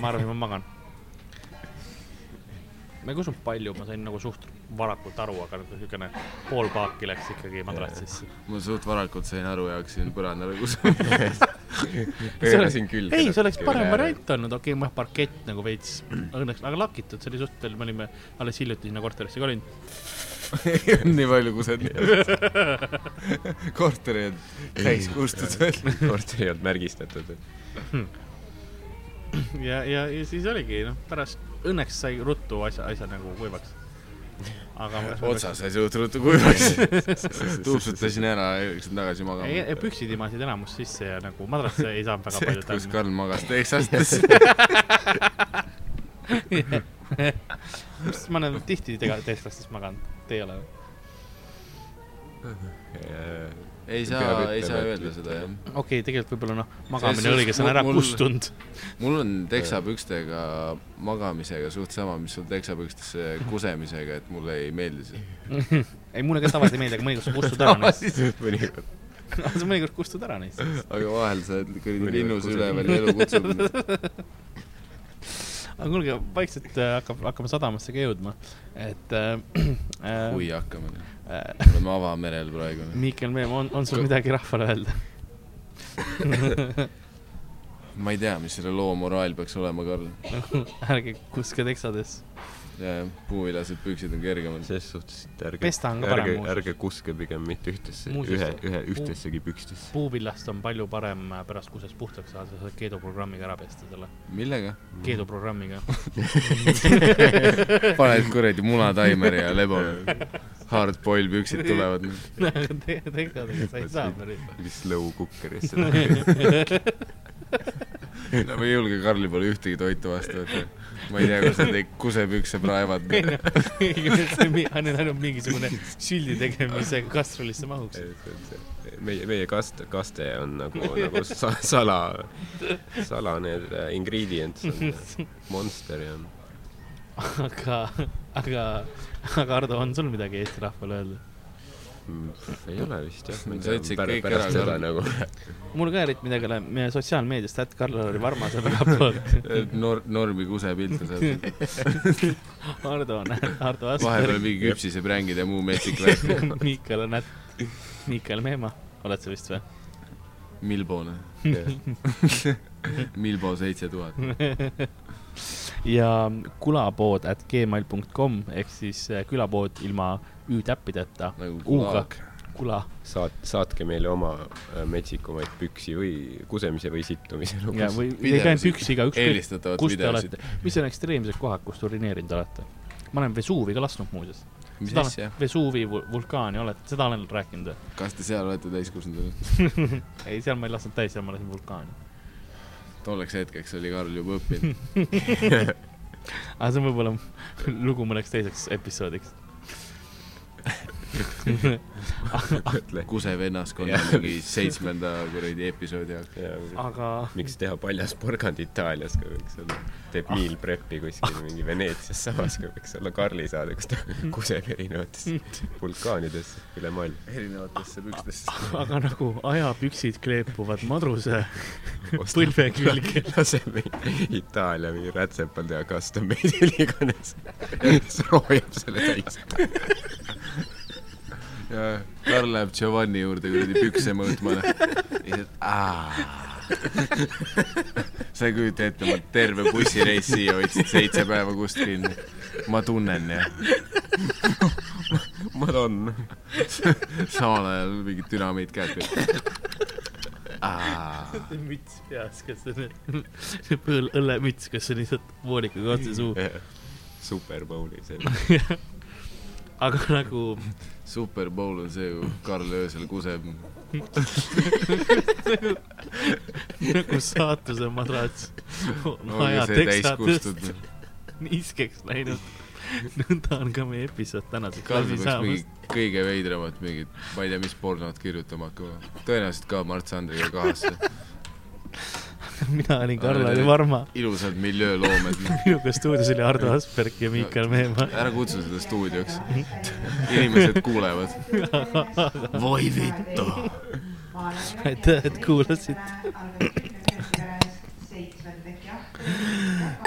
C: ma arvasin , ma magan . ma ei usunud palju , ma sain nagu suht varakult aru , aga nagu siukene pool paaki läks ikkagi madratsisse .
B: ma suht varakult sain aru ja hakkasin põrandale kusagile . <laughs>
D: pöörasin külge .
C: ei , see oleks parem . variant olnud , okei okay, , noh , parkett nagu veits <clears throat> õnneks , aga lakitud , see oli suht veel , me olime alles hiljuti sinna korterisse kolinud .
B: nii palju kused . korteri on täis kustutud .
D: korter ei olnud märgistatud .
C: ja , ja , ja siis oligi , noh , pärast õnneks sai ruttu asja , asja nagu kuivaks . aga ma-
B: otsa sai suht ruttu kuivaks . tuupsutasin ära ja läksin tagasi
C: ei , ei
B: magama .
C: püksid imasid enamus sisse ja nagu madrasse ei <laughs> saanud väga palju
B: kus
C: tagumik .
B: Karl magas teksastes .
C: ma olen tihti tega- teislastes maganud , teie ole .
B: ei
D: Peab
B: saa ,
D: ütlema,
B: ei saa
D: et
B: öelda
D: mitte.
B: seda jah .
C: okei okay, , tegelikult võib-olla noh ,
B: See
C: magamine
B: on
C: oligi , see
B: mul-
C: on ära
B: mul-
C: kustunud .
B: mul on teksapükstega magamisega suht sama , mis sul teksapükstesse kusemisega , et mulle ei meeldi see .
C: <laughs> ei , mulle ka tavaliselt ei meeldi , aga mõnikord sa kustud <laughs> ära neist .
D: mõnikord .
C: sa mõnikord kustud ära neist .
B: aga vahel sa oled kuradi
D: Mõnikord
B: linnus
D: kusagil.
B: üleval ja elu kutsub .
C: aga kuulge , vaikselt äh, hakkab , hakkame sadamasse ka jõudma , et äh, . <clears throat>
B: kui hakkame ,
C: äh, .
B: oleme avamerel praegu .
C: Miikel Meem , on , on sul midagi rahvale öelda ?
B: ma ei tea , mis selle loo moraal peaks olema , Karl .
C: ärge kuske teksadesse .
B: jajah , puuviljased püksid on kergemad .
D: selles suhtes , et ärge ,
C: pesta on ka
D: ärge
C: parem , muuseas .
D: ärge kuske pigem mitte ühtesse ,
C: Muuseas-
D: ühe , ühe , ühtessegi pükstesse .
C: puuvillast on palju parem äh, pärast kusest puhtaks saada , sa saad keeduprogrammiga ära pesta selle .
B: millega ?
C: Mm. <laughs> keeduprogrammiga .
B: paned kuradi munataimeri ja lebo . Hardboil püksid tulevad .
C: <laughs> teksadega sa ei saa päris . <laughs>
D: Slow cookerisse .
B: ma ei julge Karli poole ühtegi toitu vastu võtta . ma ei tea , kus nad neid kusepükse praevad .
C: on ainult mingisugune süldi tegemise kastrulisse mahuks .
D: meie , meie kaste , kaste on nagu , nagu sa, sala , sala need äh, ingredients on monster ja
C: aga , aga , aga Ardo , on sul midagi Eesti rahvale öelda ?
D: mm, ei ole vist jah .
B: Sa ütlesid kõik ära,
D: pärast seda
B: Karl.
D: nagu
C: mul ka eriti midagi ei ole , meie sotsiaalmeediast , et Karl-Lari Varma saab igalt poolt .
B: Nor- , normi kusepilte saad .
C: Ardo on , Ardo
B: vahepeal
C: Asperg ,
B: mingi küpsiseprängid ja muu metsik värk .
C: Miikal on , Miikal Meemaa , oled sa vist või ?
B: Milbone . Milbo seitse tuhat .
C: ja kulapood at gmail punkt kom ehk siis äh, külapood ilma ü-täppideta ,
B: nagu
C: U-ga
B: kulaak .
C: kula .
D: saat- , saatke meile oma äh, metsikumaid püksi või kusemise või sittumise nagu
C: ja
D: lugusid .
C: või teiega ainult
B: videosid.
C: üksi ka , ükskõik
B: eelistatavat
C: kus te
B: videosid
C: olete ., mis on ekstreemsed kohad , kus te urineerinud olete ? ma olen Vesuuvi ka lasknud muuseas .
B: mis
C: seda
B: asja
C: olen ,? Vesuuvi vul- vulkaani olete , seda olen rääkinud või ?
B: kas te seal olete täiskasvanud või ?
C: ei , seal ma ei lasknud täis , seal ma lasin vulkaani .
B: tolleks hetkeks oli Karl juba õppinud . <laughs>
C: aga see on võib-olla <laughs> lugu mõneks teiseks <laughs> episoodiks .
B: kusevennaskonna mingi seitsmenda kuradi episoodi jaoks .
C: aga
D: miks teha paljas porgand Itaalias , kui võiks olla , teeb meal prep'i kuskil mingi Veneetsias samas , kui võiks olla Karli saade , kus ta kuseb erinevatesse vulkaanidesse üle maailma .
B: erinevatesse pükstesse .
C: aga nagu ajapüksid kleepuvad madruse
D: <laughs>
C: põlve külge .
D: laseme Itaalia mingi rätsepal teha custom made'i <laughs> iganes . soojab selle täis .
B: Karl läheb Giovanni juurde kuradi pükse mõõtma . ja siis , aa , sa ei kujuta ette , ma terve bussireis siia hoidsin seitse päeva kust kinni . ma tunnen ja
D: Madonna .
B: samal ajal mingi dünamiit kätte .
C: müts peas , kas see on , see põõl , õllemüts , kas see on lihtsalt voolikuga otse suhu .
D: Super Bowli see .
C: aga nagu
B: Super Bowl on see , kui Karl öösel kuseb .
C: nagu saatuse madrats on
B: olge
C: aja
B: see täis
C: tekstatõst
B: kustutud .
C: <laughs> niiskeks läinud . nõnda on ka meie episood tänaseks
B: Karl
C: läbi
B: peaks mingi
C: saamas .
B: kõige veidramat mingit , ma ei tea , mis pornot kirjutama hakkama . tõenäoliselt ka Mart Sandriga kahasse .
C: mina olin Karl-Aari
B: Tere.
C: Varma ,
B: ilusad miljööloomed .
C: minuga stuudios oli Ardo Asperg ja Miikal Meemaa .
B: ära kutsu seda stuudioks . inimesed kuulevad . <laughs> voi vittu .
C: aitäh , et kuulasite .
E: seitsmendaks jah .